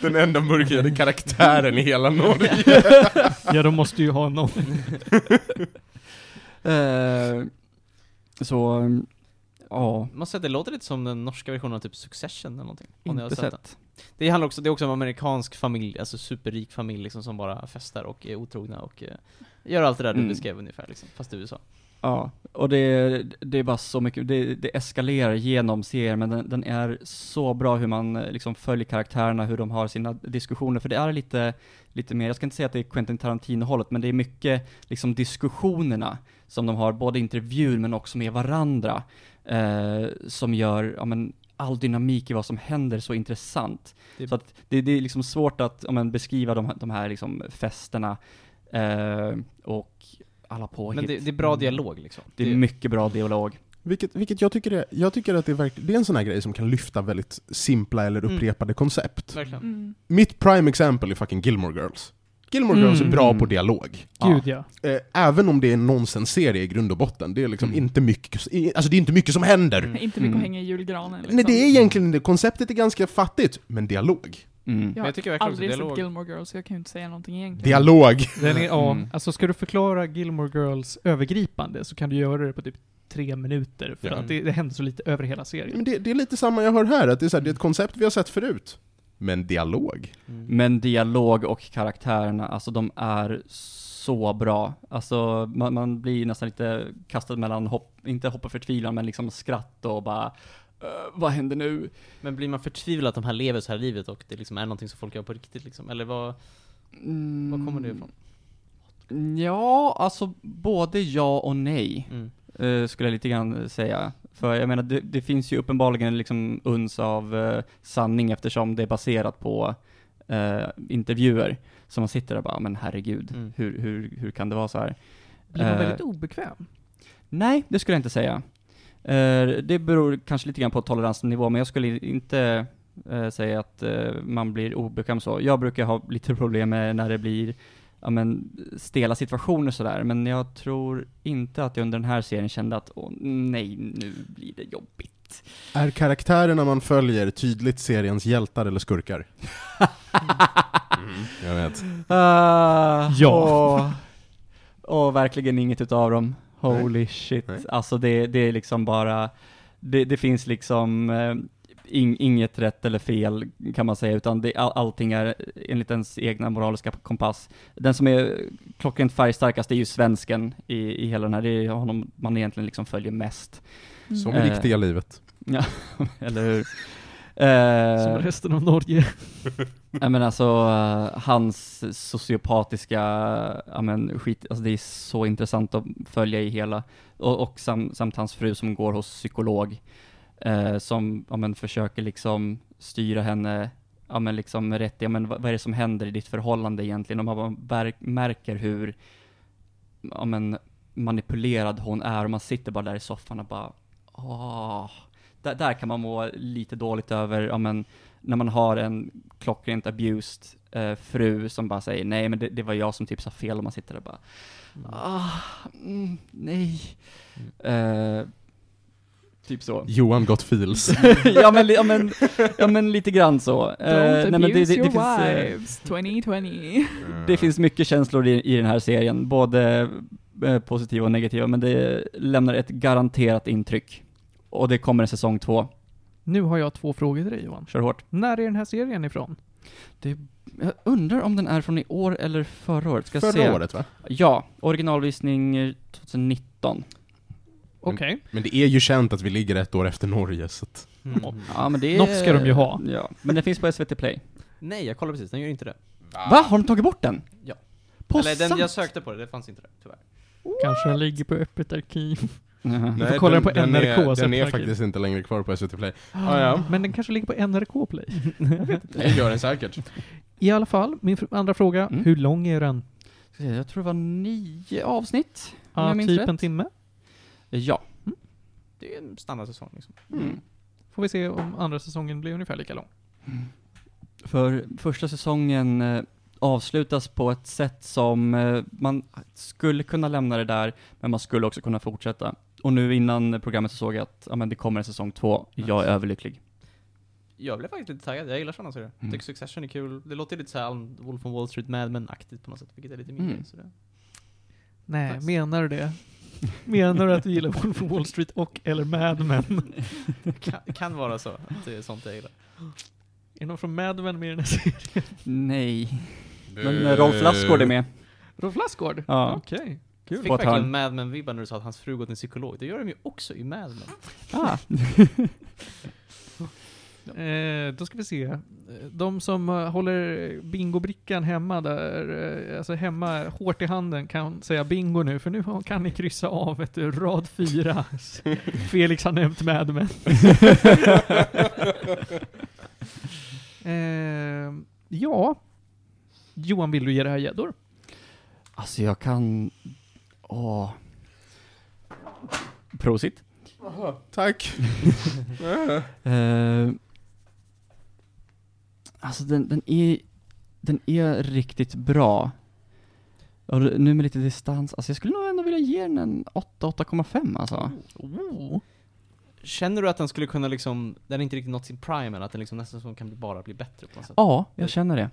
S1: Den enda mörkhyade karaktären i hela Norge.
S5: Mm.
S2: ja, de måste ju ha någon.
S3: Eh, så, mm, ja.
S5: Man säger att det låter lite som den norska versionen av typ Succession eller någonting. om ni har
S3: Inte
S5: sett den.
S3: sett.
S5: Det handlar också, det är också en amerikansk familj, alltså superrik familj liksom som bara festar och är otrogna och eh, gör allt det där du
S3: Mm.
S5: beskrev ungefär liksom, fast i USA.
S3: Ja, och det, det är bara så mycket, det, det eskalerar genom serien, men den, den är så bra hur man eh, liksom följer karaktärerna, hur de har sina diskussioner, för det är lite, lite mer, jag ska inte säga att det är Quentin Tarantino-hållet, men det är mycket liksom diskussionerna som de har, både i intervjun men också med varandra, eh, som gör, ja men, all dynamik i vad som händer så intressant.
S5: Det-
S3: Så att det, det är liksom svårt att, ja men, beskriva de, här- de här liksom festerna, eh, och alla påhitt.
S5: Men det, det är bra dialog liksom.
S3: Mm. Det är mycket bra dialog.
S1: Vilket, vilket jag tycker är, jag tycker att det är, verk, det är en sån här grej som kan lyfta väldigt simpla eller
S5: Mm.
S1: upprepade koncept.
S5: Verkligen.
S4: Mm.
S1: Mitt prime exempel är fucking Gilmore Girls. Gilmore Girls är
S2: Mm.
S1: bra på dialog.
S2: Gud ja.
S1: Eh, även om det är en nonsensserie i grund och botten, det är liksom
S3: Mm.
S1: inte mycket, alltså det är inte mycket som händer.
S5: Mm.
S4: Inte mycket
S3: Mm.
S4: att hänga i julgranen liksom.
S1: Nej, det är egentligen inte, konceptet är ganska fattigt, men dialog.
S3: Mm.
S4: Ja.
S5: Men jag tycker verkligen också
S4: Aldrig sett
S5: dialog.
S4: Gilmore Girls, så jag kan ju inte säga någonting egentligen.
S1: Dialog!
S2: Den är, ja,
S3: Mm.
S2: alltså ska du förklara Gilmore Girls övergripande så kan du göra det på typ tre minuter, för
S1: Ja.
S2: att det, det händer så lite över hela serien.
S5: Mm.
S1: Men det, det är lite samma jag hör här, att det är, så här, det är ett koncept vi har sett förut. Men dialog.
S5: Mm.
S3: Men dialog och karaktärerna, alltså de är så bra. Alltså man, man blir nästan lite kastad mellan hopp, inte hopp och förtvivlan, men liksom skratt och bara "Eh, vad händer nu?
S5: Men blir man förtvivlad att de här lever så här livet och det liksom är någonting som folk gör på riktigt liksom? Eller vad,
S3: Mm.
S5: vad kommer det ifrån?
S3: Ja, alltså både ja och nej,
S5: Mm.
S3: eh, skulle jag lite grann säga. För jag menar, det, det finns ju uppenbarligen liksom uns av eh, sanning eftersom det är baserat på eh, intervjuer. Så man sitter där och bara, men herregud,
S5: Mm.
S3: hur, hur, hur kan det vara så här?
S2: Blir man
S3: Eh.
S2: väldigt obekväm?
S3: Nej, det skulle jag inte säga. Eh, det beror kanske lite grann på toleransnivå, men jag skulle inte eh, säga att eh, man blir obekväm så. Jag brukar ha lite problem med när det blir ja, men, stela situationer sådär, men jag tror inte att jag under den här serien kände att åh nej, nu blir det jobbigt.
S1: Är karaktärerna man följer tydligt seriens hjältar eller skurkar? jag vet.
S3: Ah,
S2: Ja.
S3: Och, och verkligen inget utav dem. Holy shit.
S1: Nej.
S3: Alltså det, det är liksom bara, det, det finns liksom eh, ing- inget rätt eller fel kan man säga, utan det, all, allting är enligt ens egna moraliska kompass. Den som är klockrent färgstarkast är ju svensken i, i hela den här, det är honom man egentligen liksom följer mest.
S4: Mm.
S1: Som
S3: Eh.
S1: i riktiga livet.
S3: Eller hur?
S2: Som
S3: Eh,
S2: resten av Norge.
S3: Ja men alltså, eh, hans sociopatiska, ja men skit, alltså det är så intressant att följa i hela, och, och sam, samt hans fru som går hos psykolog, eh, som, ja men försöker liksom styra henne, ja men liksom rätt i, ja men vad, vad är det som händer i ditt förhållande egentligen? Och man bara mär- märker hur, ja men manipulerad hon är, och man sitter bara där i soffan och bara, åh. Där, där kan man må lite dåligt över, ja men, när man har en klockrent abused eh, fru som bara säger nej men det, det var jag som typ sa fel och man sitter där och bara ah, mm, nej. Eh, typ så.
S1: Johan got feels.
S3: ja, men, li- ja, men, ja men lite grann så. Eh,
S4: Don't
S3: men
S4: abuse your
S3: finns, eh,
S4: wives, 2020.
S3: det finns mycket känslor i, i den här serien, både eh, positiva och negativa, men det lämnar ett garanterat intryck. Och det kommer en säsong två.
S2: Nu har jag två frågor till dig Johan.
S3: Kör hårt.
S2: När är den här serien ifrån?
S3: Jag undrar om den är från i år eller förra året. Ska
S1: Förra
S3: se.
S1: året va?
S3: Ja, originalvisning eh, 2019.
S1: Men-
S2: Okej.
S1: Men det är ju känt att vi ligger ett år efter Norge, så att...
S5: Mm.
S3: Ja, men det är...
S2: Något ska de ju ha.
S3: Ja, men den finns på SVT Play.
S5: Nej, jag kollade precis, den gör inte det.
S3: Va? Har de tagit bort den?
S5: Ja.
S3: På
S5: Eller den,
S3: sant?
S5: jag sökte på det, det fanns inte det, tyvärr.
S2: Kanske den ligger på öppet arkiv.
S3: Mhm.
S2: får kolla den på NRK
S1: är,
S2: sen
S1: Den är
S2: på arkiv.
S1: faktiskt inte längre kvar på SVT Play.
S2: Ah,
S1: ja.
S2: Men den kanske ligger på NRK Play.
S1: Det gör den säkert.
S2: I alla fall, min fr- andra fråga.
S3: Mm.
S2: Hur lång är den?
S3: Ska se, Jag tror det var nio avsnitt, om
S2: Ja,
S3: jag minns
S2: typ
S3: rätt.
S2: en timme.
S3: Ja.
S5: Det är en standardsäsong liksom.
S3: Mm.
S2: Får vi se om andra säsongen blir ungefär lika lång.
S3: För första säsongen eh, avslutas på ett sätt som eh, man skulle kunna lämna det där, men man skulle också kunna fortsätta. Och nu innan programmet så såg jag att ja, men det kommer en säsong två, jag är överlycklig.
S5: Jag blev faktiskt lite taggad, jag gillar sådana serier.
S3: Mm.
S5: Tycker Succession är kul, det låter lite såhär um, Wolf on Wall Street Mad Men-aktigt på något sätt, vilket är lite mindre.
S3: Mm.
S5: Så det...
S2: Nej,
S5: Nice.
S2: menar du det? Menar du att du gillar Wolf of Wall Street och eller Mad Men?
S5: kan, kan vara så, att det är sånt jag gillar.
S2: Är det någon från Mad Men med i den här serien?
S3: Nej, men eh, Rolf Lassgård är med.
S2: Rolf Lassgård?
S3: Ja.
S2: Okej.
S5: Kul. Fick
S3: På ett
S5: verkligen
S3: hörn.
S5: Mad Men-vibbar när du sa att hans fru gått till en psykolog. Det gör de ju också i Mad Men.
S3: Ah.
S2: Eh, då ska vi se. Eh, De som eh, håller bingobrickan hemma där, eh, alltså hemma hårt i handen kan säga bingo nu, för nu har- kan ni kryssa av ett eh, rad fyra. Felix har nämnt Mad Men. eh, ja. Johan, vill du ge det här gäddor?
S3: Alltså jag kan... Åh. Prosit.
S1: Tack.
S3: Eh, alltså den, den är... Den är riktigt bra. Och nu med lite distans, alltså jag skulle nog ändå vilja ge den en 8, 8,5 alltså.
S2: Oh.
S5: Känner du att den skulle kunna liksom, den har inte riktigt nått sin prime än, att den liksom nästa säsong kan bli, bara bli bättre på något sätt?
S3: Ja, jag känner det.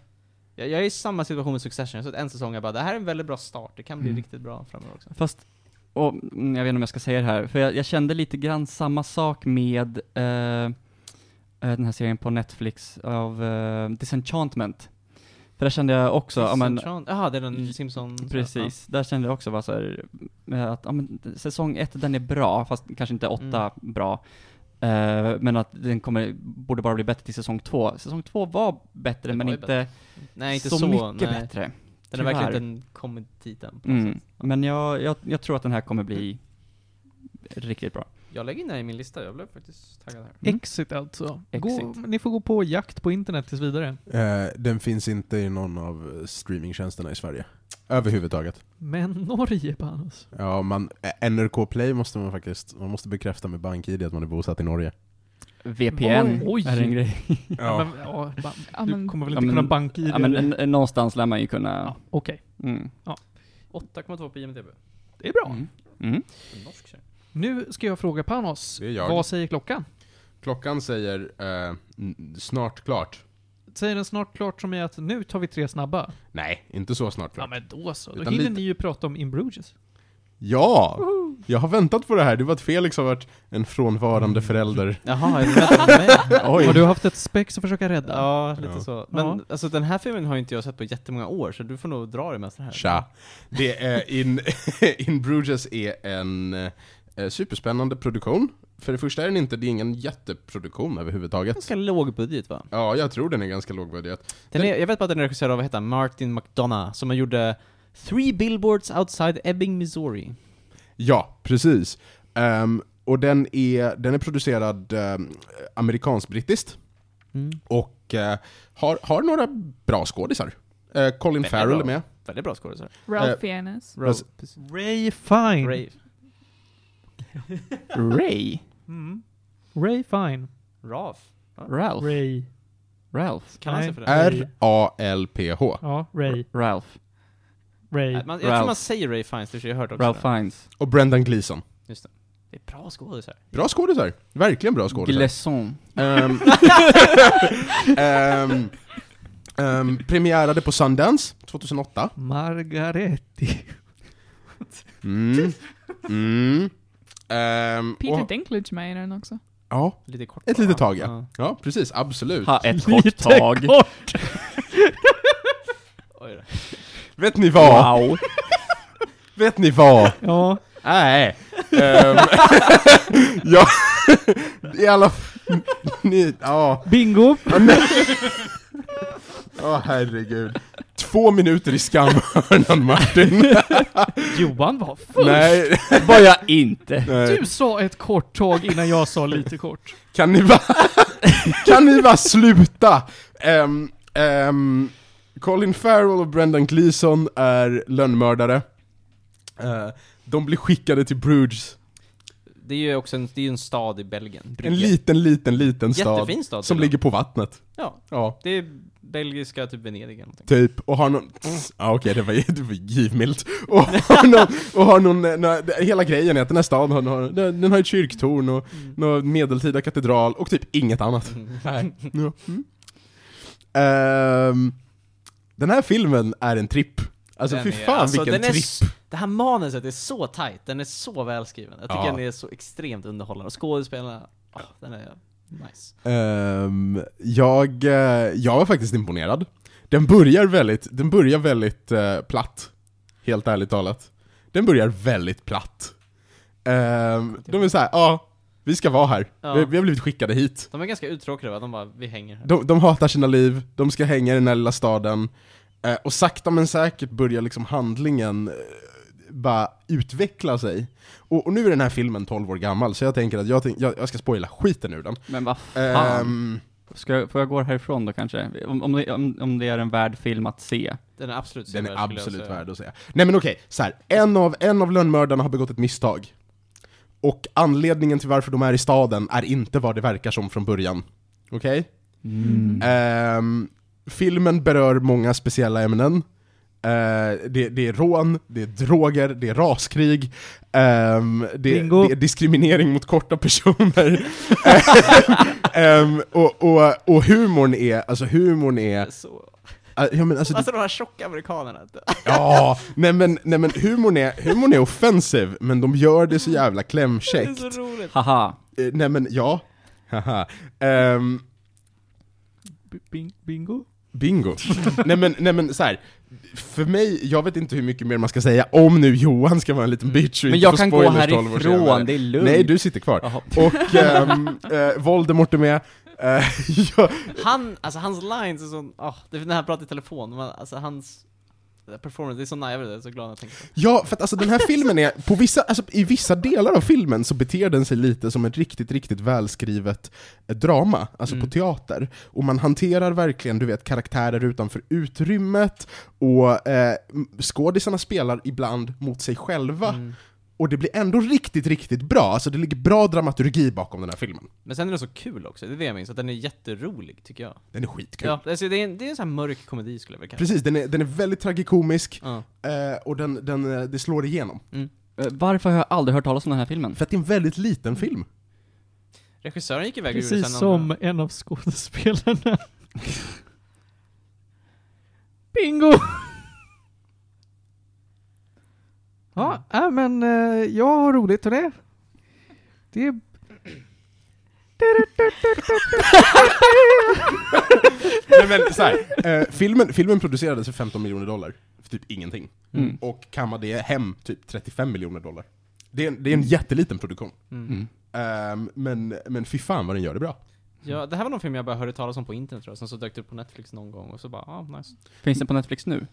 S5: Jag, jag är i samma situation med Succession, så att en säsong jag bara, det här är en väldigt bra start, det kan bli
S3: Mm.
S5: riktigt bra framöver också.
S3: Fast, och, mm, jag vet inte om jag ska säga det här, för jag, jag kände lite grann samma sak med eh, eh, den här serien på Netflix av eh, Disenchantment. För där kände jag också, ja men, Mm,
S5: Simpson- Jaha, det är den Simpson...
S3: Precis, där kände jag också bara så här, eh, att ja, men, säsong ett den är bra, fast kanske inte åtta
S5: Mm.
S3: bra. Eh, men att den kommer, borde bara bli bättre till säsong två. Säsong två var bättre,
S5: Det
S3: men
S5: var ju
S3: inte,
S5: bättre. Ja. Nej, inte så,
S3: så, mycket
S5: nej.
S3: bättre.
S5: Den har verkligen
S3: tyvärr.
S5: inte kommit dit än. på något
S3: Mm.
S5: sätt.
S3: Men jag, jag, jag tror att den här kommer bli riktigt bra.
S5: Jag lägger in den i min lista, jag blev faktiskt taggad här.
S3: Mm.
S2: Exit alltså. Gå,
S3: Exit.
S2: ni får gå på jakt på internet tills vidare.
S1: Eh, den finns inte i någon av streamingtjänsterna i Sverige. Överhuvudtaget.
S2: Men Norge, Panos.
S1: Ja, man, eh, NRK Play måste man faktiskt, man måste bekräfta med BankID att man är bosatt i Norge.
S3: VPN
S2: Oj.
S3: är en grej.
S2: Ja. Men, ja, ba-
S4: Ja,
S2: du
S4: men-
S2: kommer väl
S3: Ja,
S2: inte
S3: men-
S2: kunna banka i det?
S3: Ja, men
S2: eller?
S3: n- någonstans lär man ju kunna...
S2: ja, Okej,
S3: Mm.
S5: 8,2 på IMDB.
S2: det är bra.
S3: Mm. Mm.
S5: En Norsk tjej.
S2: Nu ska jag fråga Panos.
S1: Det är jag.
S2: Vad säger klockan?
S1: Klockan säger eh, n- snart klart.
S2: Säger den snart klart som är att nu tar vi tre snabba?
S1: Nej, inte så snart
S2: Ja
S1: klart.
S2: men då så. Då
S1: Utan
S2: hinner
S1: lite-
S2: ni ju prata om In Bruges.
S1: Ja! Jag har väntat på det här, det var att Felix har varit en frånvarande förälder.
S5: Jaha, är det rätt med?
S2: Har du haft ett spex att försöka rädda?
S5: Ja, lite
S1: Ja.
S5: så. Men
S2: Ja.
S5: alltså den här filmen har ju inte jag sett på jättemånga år, så du får nog dra det mesta här.
S1: Tja! Det är in, in Bruges är en eh, superspännande produktion. För det första är den inte, det är ingen jätteproduktion överhuvudtaget.
S5: Ganska låg budget va?
S1: Ja, jag tror den är ganska lågbudget.
S5: Den
S1: Den-
S5: är, jag vet bara att den är regisserad av, vad heter han, Martin McDonough, som har gjorde Three Billboards Outside Ebbing, Missouri.
S1: Ja, precis. Ehm, och den är, den är producerad um, amerikansk-brittiskt.
S3: Mm.
S1: Och eh, har, har några bra skådisar. Eh, Colin
S5: Väldigt
S1: Farrell
S5: bra.
S1: är med.
S5: Väldigt bra skådisar.
S2: Eh,
S4: Ralph Fiennes.
S1: Alltså-
S5: Precis.
S2: Ray Fine. Ray.
S5: Ray.
S3: Ray?
S2: Mm. Ray Fine.
S5: Ralph.
S3: Ralph?
S2: Ray.
S3: Ralph?
S5: Kan man
S2: Nej.
S5: sig för det?
S2: Äh.
S1: R-A-L-P-H.
S2: Ja, Ray.
S3: Ralph.
S2: Ray.
S5: Nej, Man, jag tror
S3: Ralph.
S5: man säger Ray Fiennes, det har jag hört också.
S3: Ralph Fiennes.
S1: Och Brendan Gleeson.
S5: Det är bra skådisar.
S1: Bra skådisar. Verkligen bra skådisar.
S3: Glesson.
S1: Ehm, ehm, ehm, premiärade på Sundance 2008.
S2: Margaretti.
S1: Mm. Mm. Ehm,
S4: Peter
S1: och,
S4: Dinklage med i den också.
S1: Ja,
S5: Lite kort
S1: Ett
S5: bara.
S1: litet tag, ja precis. Absolut.
S3: Ha ett kort tag.
S2: kort.
S5: Oj då.
S1: Vet ni vad?
S3: Wow.
S1: Vet ni vad?
S2: Ja.
S1: Nej. Ehm, ja, i alla f- ni, ja,
S2: Bingo.
S1: ja herregud. Tf- Två minuter i skamhörnan Martin.
S2: Johan var full.
S1: Nej,
S3: Var jag inte.
S1: nej.
S2: Du sa ett kort tag innan jag sa lite kort.
S1: Kan ni va? Kan ni va sluta? Ehm, ehm, Colin Farrell och Brendan Gleeson är lönnmördare. Eh, de blir skickade till Bruges.
S5: Det är ju också en, det är ju en stad i Belgien. Brygge.
S1: En liten, liten, liten stad.
S5: Jättefin stad.
S1: Som
S5: till och med.
S1: ligger på vattnet.
S5: Ja,
S1: Ja,
S5: det är belgiska typ Venedig eller någonting.
S1: typ. Och har någon... Ja okej, det var, det var givmilt. Och har någon... Och har någon eh, nå- det- hela grejen är att den här staden har, har, den den har ett kyrktorn och
S5: Mm.
S1: någon medeltida katedral och typ inget annat.
S5: Nej.
S1: Ja. Mm. Ehm, den här filmen är en tripp. Alltså fy fan vilken
S5: den är
S1: tripp.
S5: s- Det här manuset är så tight, den är så välskriven. Jag tycker
S1: Ja.
S5: den är så extremt underhållande. Och skådespelarna, ah, den är nice.
S1: Ehm, jag, eh, jag var faktiskt imponerad. Den börjar väldigt, den börjar väldigt eh, platt. Helt ärligt talat. Den börjar väldigt platt. Ehm, de är såhär, ja, vi ska vara här.
S5: Ja.
S1: Vi, vi har blivit skickade hit.
S5: De är ganska uttråkade va? De bara, vi hänger här.
S1: De, de hatar sina liv, de ska hänga i den här lilla staden. Eh, och sakta men säkert börjar liksom handlingen eh, bara utveckla sig. Och, och nu är den här filmen 12 år gammal, så jag tänker att jag, tänk, jag, jag ska spoila skiten ur den.
S3: Men vad fan.
S1: Ehm,
S3: Ska jag, får jag gå härifrån då kanske? Om, om, det, om, om det är en värd film att se.
S5: Den är absolut
S1: den är
S5: sevärd, skulle jag
S1: absolut
S5: säga.
S1: värd att säga. Nej men okej, så här. En av, en av lönnmördarna har begått ett misstag. Och anledningen till varför de är i staden är inte vad det verkar som från början. Okej?
S4: Mm.
S1: Ehm, filmen berör många speciella ämnen. Eh, det, det är rån, det är droger, det är raskrig, ehm, det,
S2: Bingo.
S1: det är diskriminering mot korta personer. Ehm, och, och, och humorn är, alltså humorn är,
S5: Så.
S1: eh, ja men alltså,
S5: Alltså de här tjocka amerikanerna.
S1: ja, nej men, nej men humorn är, humorn är offensiv, men de gör det så jävla
S5: Det
S1: klämkäckt.
S5: är så roligt.
S3: Haha.
S1: Eh, nej men ja, haha. Ehm,
S2: B- bing- bingo?
S1: Bingo. nej men, nej men så här. för mig, jag vet inte hur mycket mer man ska säga om nu Johan ska vara en liten bitch och
S3: Men
S1: inte
S3: jag
S1: få
S3: kan gå
S1: spoilers 12 år senare.
S3: härifrån, det är lugnt.
S1: Nej, du sitter kvar.
S3: Jaha.
S1: Och ehm, eh, Voldemort är med. Eh, jag,
S5: Han, alltså hans lines är sån, ah, det är när han pratar i telefon, men alltså hans det där performance, det är så nice, jag vet inte, jag är så glad när jag tänker på det.
S1: ja, för att alltså den här filmen är, på vissa, alltså, i vissa delar av filmen så beter den sig lite som ett riktigt, riktigt välskrivet eh, drama, alltså
S5: Mm.
S1: på teater. Och man hanterar verkligen, du vet, karaktärer utanför utrymmet, och eh, skådisarna spelar ibland mot sig själva.
S5: Mm.
S1: Och det blir ändå riktigt, riktigt bra. Alltså det ligger bra dramaturgi bakom den här filmen.
S5: Men sen är den så kul också, det är det jag minns, att den är jätterolig tycker jag.
S1: Den är skitkul.
S5: Ja, alltså det är en, det är en sån här mörk komedi skulle jag vilja kalla det.
S1: Precis, den är, den är väldigt tragikomisk
S5: Ja.
S1: eh, och den, den, eh, det slår igenom.
S3: Eh, Varför har jag aldrig hört talas om den här filmen?
S1: För att det är en väldigt liten film.
S5: Regissören gick iväg ur
S2: Precis
S5: sen
S2: som en av skådespelarna. Bingo! Ja, äh, men eh, jag har roligt och det. Det är...
S1: Nej, men, så här, eh, filmen, filmen producerades för 15 miljoner dollar, för typ ingenting.
S3: Mm.
S1: Och kammade det hem typ 35 miljoner dollar. Det är en, det är en jätteliten produktion.
S5: Mm.
S3: Mm.
S1: Ehm, men, men fy fan vad den gör det bra.
S5: Ja, det här var någon film jag bara hörde talas om på internet tror jag, sen så dök det upp på Netflix någon gång och så bara, ah nice.
S3: Finns den på Netflix nu?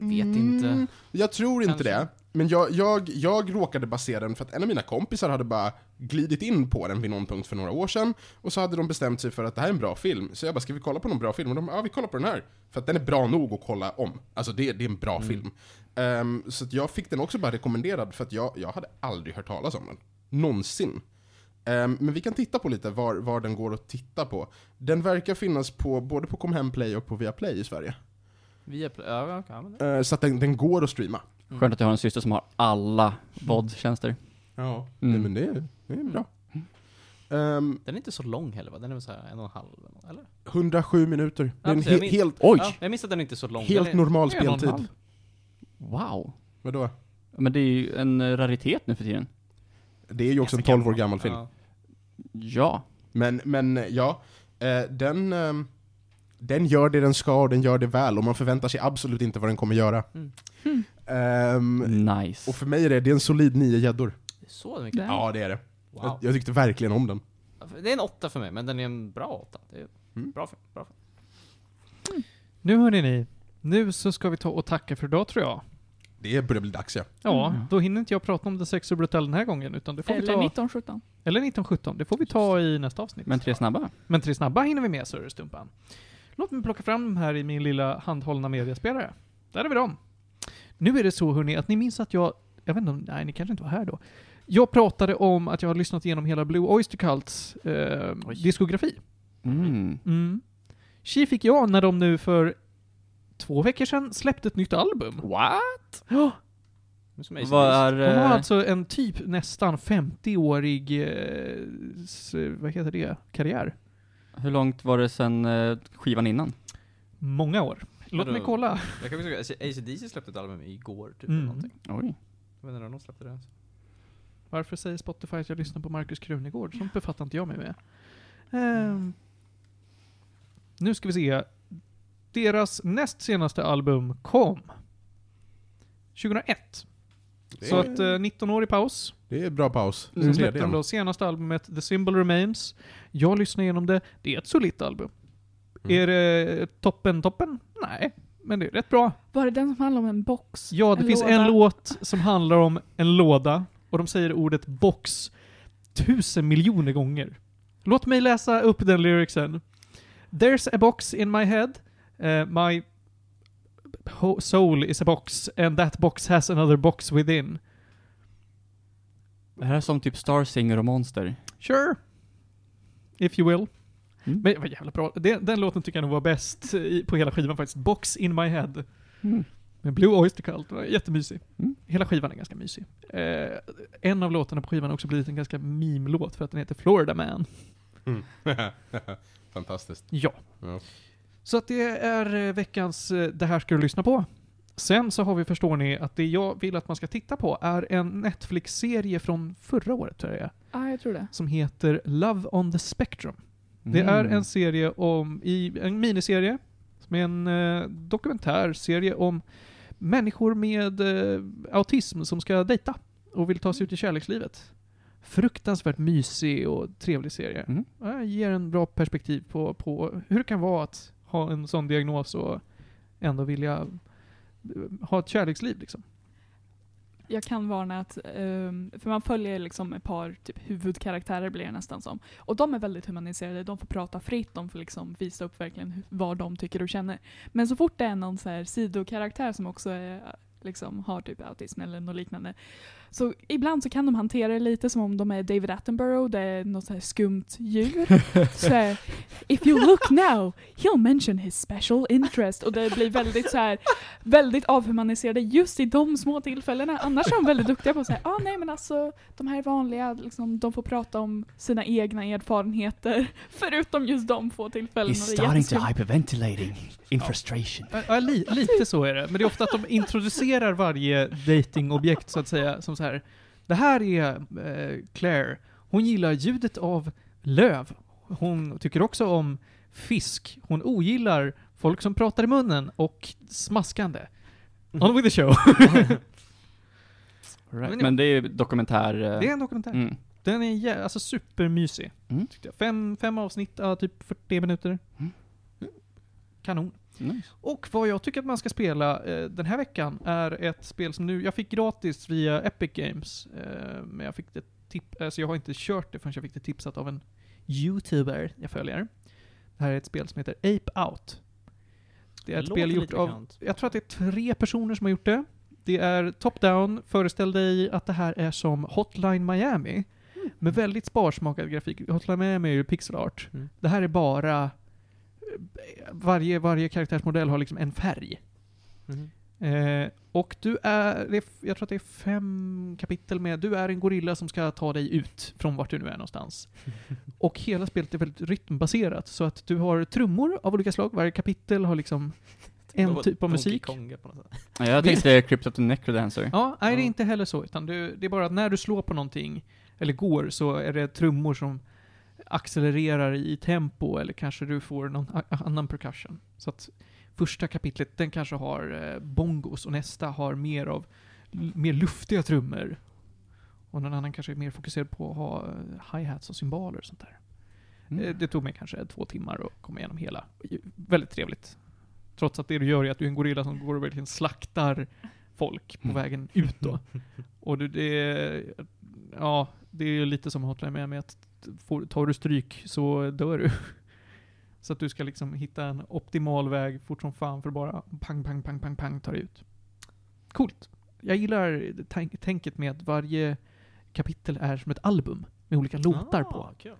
S5: Vet inte.
S1: Jag tror inte
S5: Kanske.
S1: det. Men jag, jag, jag råkade basera den för att en av mina kompisar hade bara glidit in på den vid någon punkt för några år sedan. Och så hade de bestämt sig för att det här är en bra film. Så jag bara, ska vi kolla på någon bra film? Och de bara, ja vi kollar på den här. För att den är bra nog att kolla om. Alltså det, det är en bra
S5: Mm.
S1: film. Ehm, så att jag fick den också bara rekommenderad för att jag, jag hade aldrig hört talas om den. Någonsin. Ehm, men vi kan titta på lite var, var den går att titta på. Den verkar finnas på både på Comhemplay och på Viaplay i Sverige.
S5: Via, ja, okay, men det.
S1: Ehm, så att den, den går att streama.
S5: Mm.
S3: Skönt att jag har en syster som har alla VOD-tjänster.
S1: Ja,
S3: Mm.
S1: Nej, men det är, det är bra. Ehm,
S5: Den är inte så lång heller va? Den är väl såhär en och en halv, eller? nåt, eller?
S1: 107 minuter. Det är en
S5: Ja, precis.
S1: he- helt,
S3: Oj!
S5: Ja, jag minns att den är inte är så lång.
S1: helt
S5: den är,
S1: normal
S2: en och en
S1: speltid.
S2: halv.
S3: Wow!
S1: Vadå?
S3: Men det är ju en eh, raritet nu för tiden.
S1: Det är ju också en
S5: Ganska
S1: 12 år gammal film.
S5: ja.
S3: Ja.
S1: Men, men ja, eh, den, ehm, den gör det den ska och den gör det väl och man förväntar sig absolut inte vad den kommer göra.
S5: Mm.
S4: Mm.
S1: Ehm,
S3: Nice.
S1: och för mig är det, det är en solid nio gäddor.
S5: Så mycket?
S4: Nej.
S1: Ja, det är det. Jag,
S5: Wow.
S1: jag tyckte verkligen om den.
S5: Det är en åtta för mig, men den är en bra åtta. Det är
S1: Mm.
S5: bra film, bra film.
S2: Nu hörni ni. Nu så ska vi ta och tacka för idag tror jag.
S1: Det börjar bli dags ja.
S2: Ja,
S3: Mm.
S2: då hinner inte jag prata om The Sex och Brutal den här gången, utan det får vi
S4: Eller
S2: ta...
S4: 1917.
S2: Eller 1917, det får vi ta i nästa avsnitt.
S3: Men tre snabba.
S2: Men tre snabba hinner vi med, Sörrestumpan. Låt mig plocka fram dem här i min lilla handhållna mediaspelare. Där har vi dem. Nu är det så hörni, att ni minns att jag... Jag vet inte om... Nej, ni kanske inte var här då. Jag pratade om att jag har lyssnat igenom hela Blue Oyster Cults eh,
S5: Oj.
S2: diskografi.
S3: Mm.
S2: Mm. Tji fick jag när de nu för två veckor sedan släppte ett nytt album.
S5: What?
S2: Ja,
S3: Vad är...
S2: de har
S3: eh,
S2: alltså en typ nästan 50-årig, eh, s- vad heter det, karriär.
S3: Hur långt var det sen eh, skivan innan?
S2: Många år. Låt
S5: Vadå?
S2: mig kolla.
S5: Jag kan också ACDC släppte ett album igår, typ,
S2: Mm.
S5: eller någonting.
S3: Oj.
S5: Jag vet inte när de släppte det. ens.
S2: Varför säger Spotify att jag lyssnar på Markus Krunegård? Sånt befattar inte jag mig med. Ehm, nu ska vi se. Deras näst senaste album kom 2001.
S1: Det
S2: Så
S1: är,
S2: att eh, 19 år i paus.
S1: det är bra paus.
S2: Sen
S1: Sen
S2: släppte de
S1: mm.
S2: då senaste albumet The Symbol Remains. Jag lyssnar igenom det. Det är ett solitt album.
S1: Mm.
S2: Är det toppen, toppen? Nej, men det är rätt bra.
S4: Var det den som handlade om en box?
S2: Ja, det
S4: en
S2: finns
S4: låda?
S2: en låt som handlar om en låda och de säger ordet box tusen miljoner gånger. Låt mig läsa upp den lyricsen. There's a box in my head. Eh, my ho- soul is a box and that box has another box within.
S3: Det här är som typ Star Singer och Monster.
S2: Sure. If you will.
S3: Mm.
S2: Men vad jävla bra. Den, den låten tycker jag nog var bäst i, på hela skivan faktiskt. Box in my head.
S3: Mm.
S2: Men Blue Oyster Cult var jättemysig.
S3: Mm.
S2: Hela skivan är ganska mysig. Eh, en av låtarna på skivan har också blivit en ganska meme-låt för att den heter Florida Man.
S1: Mm. Fantastiskt.
S2: Ja.
S1: Ja.
S2: Så att det är eh, veckans eh, Det här ska du lyssna på. Sen så har vi, förstår ni, att det jag vill att man ska titta på är en Netflix-serie från förra året, tror jag det är,
S4: Ja, jag tror det.
S2: som heter Love on the Spectrum. Det är
S3: Mm.
S2: en serie om, i, en miniserie, som är en eh, dokumentärserie om människor med eh, autism som ska dejta och vill ta sig ut i kärlekslivet. Fruktansvärt mysig och trevlig serie.
S3: Mm.
S2: Eh, ger en bra perspektiv på, på hur det kan vara att ha en sån diagnos och ändå vilja eh, ha ett kärleksliv liksom.
S4: Jag kan varna att, ehm, för man följer liksom ett par typ, huvudkaraktärer blir det nästan som. Och de är väldigt humaniserade, de får prata fritt, de får liksom visa upp verkligen hu- vad de tycker och känner. Men så fort det är någon så här sidokaraktär som också är, liksom, har typ autism eller något liknande. Så ibland så kan de hantera det lite som om de är David Attenborough, det är något så här skumt djur. så här, If you look now, he'll mention his special interest. Och det blir väldigt så här väldigt avhumaniserade just i de små tillfällena. Annars är de väldigt duktiga på att säga ah, nej men alltså de här är vanliga, liksom, de får prata om sina egna erfarenheter. Förutom just de få tillfällena. Det är jätteskumt.
S3: hyperventilating in frustration.
S2: Ja, Ja, li, lite så är det. Men det är ofta att de introducerar varje datingobjekt så att säga som så här. Det här är eh, Claire. Hon gillar ljudet av löv. Hon tycker också om fisk. Hon ogillar folk som pratar i munnen och smaskande. On with the show.
S3: Right. Men det är ju dokumentär... eh,
S2: Det är en dokumentär.
S3: mm.
S2: Den är jä- alltså supermysig.
S3: Mm.
S2: Tyckte jag. Fem, fem avsnitt, ja, typ 40 minuter.
S3: Mm.
S2: Kanon.
S3: Nice.
S2: Och vad jag tycker att man ska spela eh, den här veckan är ett spel som nu, jag fick gratis via Epic Games. Eh, men jag fick det tip- alltså jag har inte kört det förrän jag fick det tipsat av en YouTuber jag följer. Det här är ett spel som heter Ape Out. Det är ett spel gjort av jag tror att det är tre personer som har gjort det. Det är top-down, föreställ dig att det här är som Hotline Miami. Med väldigt sparsmakad grafik. Hotline Miami är ju pixel art.
S5: Mm.
S2: Det här är bara... eh, Varje, varje karaktärsmodell har liksom en färg.
S5: Mhm.
S2: Eh, och du är... Det är jag tror att det är fem kapitel med... Du är en gorilla som ska ta dig ut från vart du nu är någonstans. Och hela spelet är väldigt rytmbaserat, så att du har trummor av olika slag. Varje kapitel har liksom en typ av musik.
S3: Ja, Jag tänkte Crypt of the Necrodancer.
S2: Ja, nej det är
S5: Ja.
S2: inte heller så. Utan du, det är bara att när du slår på någonting, eller går, så är det trummor som accelererar i tempo, eller kanske du får någon a- annan percussion. Så att första kapitlet, den kanske har eh, bongos, och nästa har mer av l- mer luftiga trummor. Och någon annan kanske är mer fokuserad på att ha eh, hi-hats och cymbaler och sånt där. Eh,
S3: Mm.
S2: Det tog mig kanske två timmar att komma igenom hela. Väldigt trevligt. Trots att det du gör är att du är en gorilla som går och verkligen slaktar folk på vägen ut då. Och du, det, ja, det är ju lite som Hotline med, med att får, tar du stryk så dör du. Så att du ska liksom hitta en optimal väg fort som fan för att bara pang, pang, pang, pang, pang ta dig ut. Coolt. Jag gillar tank- tänket med att varje kapitel är som ett album med olika
S5: Ah.
S2: låtar på.
S5: Kul.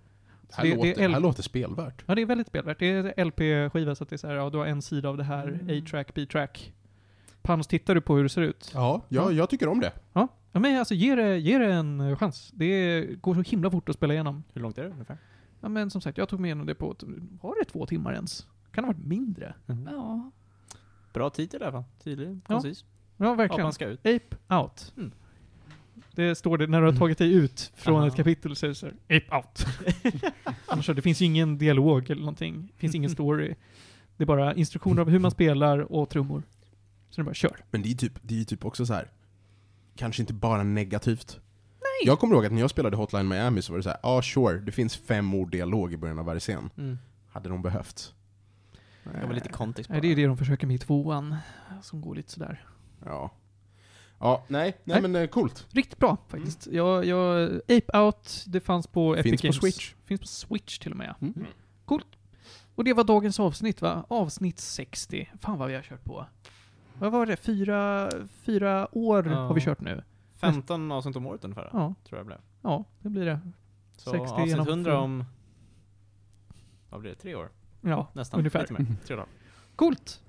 S1: Det här,
S2: Det- det
S1: låter,
S2: är el-
S1: här låter spelvärt.
S2: Ja, det är väldigt spelvärt. Det är LP-skiva, så att det är så här, ja, du har en sida av det här,
S4: Mm.
S2: A-track, B-track. Pans, tittar du på hur det ser ut?
S1: Ja, jag, jag tycker om det.
S2: Ja. ja men alltså ge det, ge det en eh, chans. Det går så himla fort att spela igenom.
S5: Hur långt är det ungefär?
S2: Ja, men som sagt, jag tog mig igenom det på, ett- var det två timmar ens? Kan det ha varit mindre?
S4: Ja.
S5: Mhm. Bra titel i alla fall. Tydlig,
S2: Ja,
S5: koncis.
S2: Ja,
S5: Vad
S2: verkligen.
S5: man ska ut.
S2: Ape out.
S5: Mm.
S2: Det står det när du har tagit dig ut från
S5: Aha.
S2: ett kapitel så är det så här, ape out. Annars så, det finns ju ingen dialog eller någonting. Det finns ingen story. Det är bara instruktioner av hur man spelar och trummor. Så det är bara kör.
S1: Men det är ju typ, det är ju typ också så här. kanske inte bara negativt. Nej. Jag kommer ihåg att när jag spelade Hotline Miami så var det så här, ja ah, sure, det finns fem ord dialog i början av varje scen. Hade de behövt?
S5: Jag vill lite kontext
S2: Mm. Nej, det är det de försöker med i tvåan, som går lite sådär.
S1: Ja. Ja, nej, nej,
S2: Nej.
S1: men eh, coolt.
S2: Riktigt bra faktiskt. Jag, jag, Ape Out, det fanns på Epic
S1: Finns på
S2: Games.
S1: Switch.
S2: Finns på Switch till och med.
S3: Mm.
S2: Coolt. Och det var dagens avsnitt va? Avsnitt 60. Fan vad vi har kört på. Vad var det? Fyra, fyra år
S5: Ja.
S2: har vi kört nu.
S5: 15 avsnitt om året ungefär,
S2: Ja,
S5: tror jag blev.
S2: ja det blir det.
S5: Så
S2: 60 genom
S5: avsnitt 100
S2: fem.
S5: om... Vad blir det? Tre år?
S2: Ja,
S5: Nästan.
S2: Ungefär.
S5: Lite mer. Tre dagar.
S2: Coolt.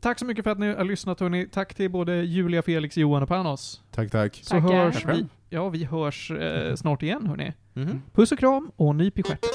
S2: Tack så mycket för att ni har lyssnat hörni. Tack till både Julia, Felix, Johan och Panos.
S1: Tack, tack.
S2: Så
S4: Tackar.
S2: hörs
S1: Tackar.
S2: vi. Ja, vi hörs eh, snart igen hörni.
S5: Mhm.
S2: Puss och kram och nyp i stjärten.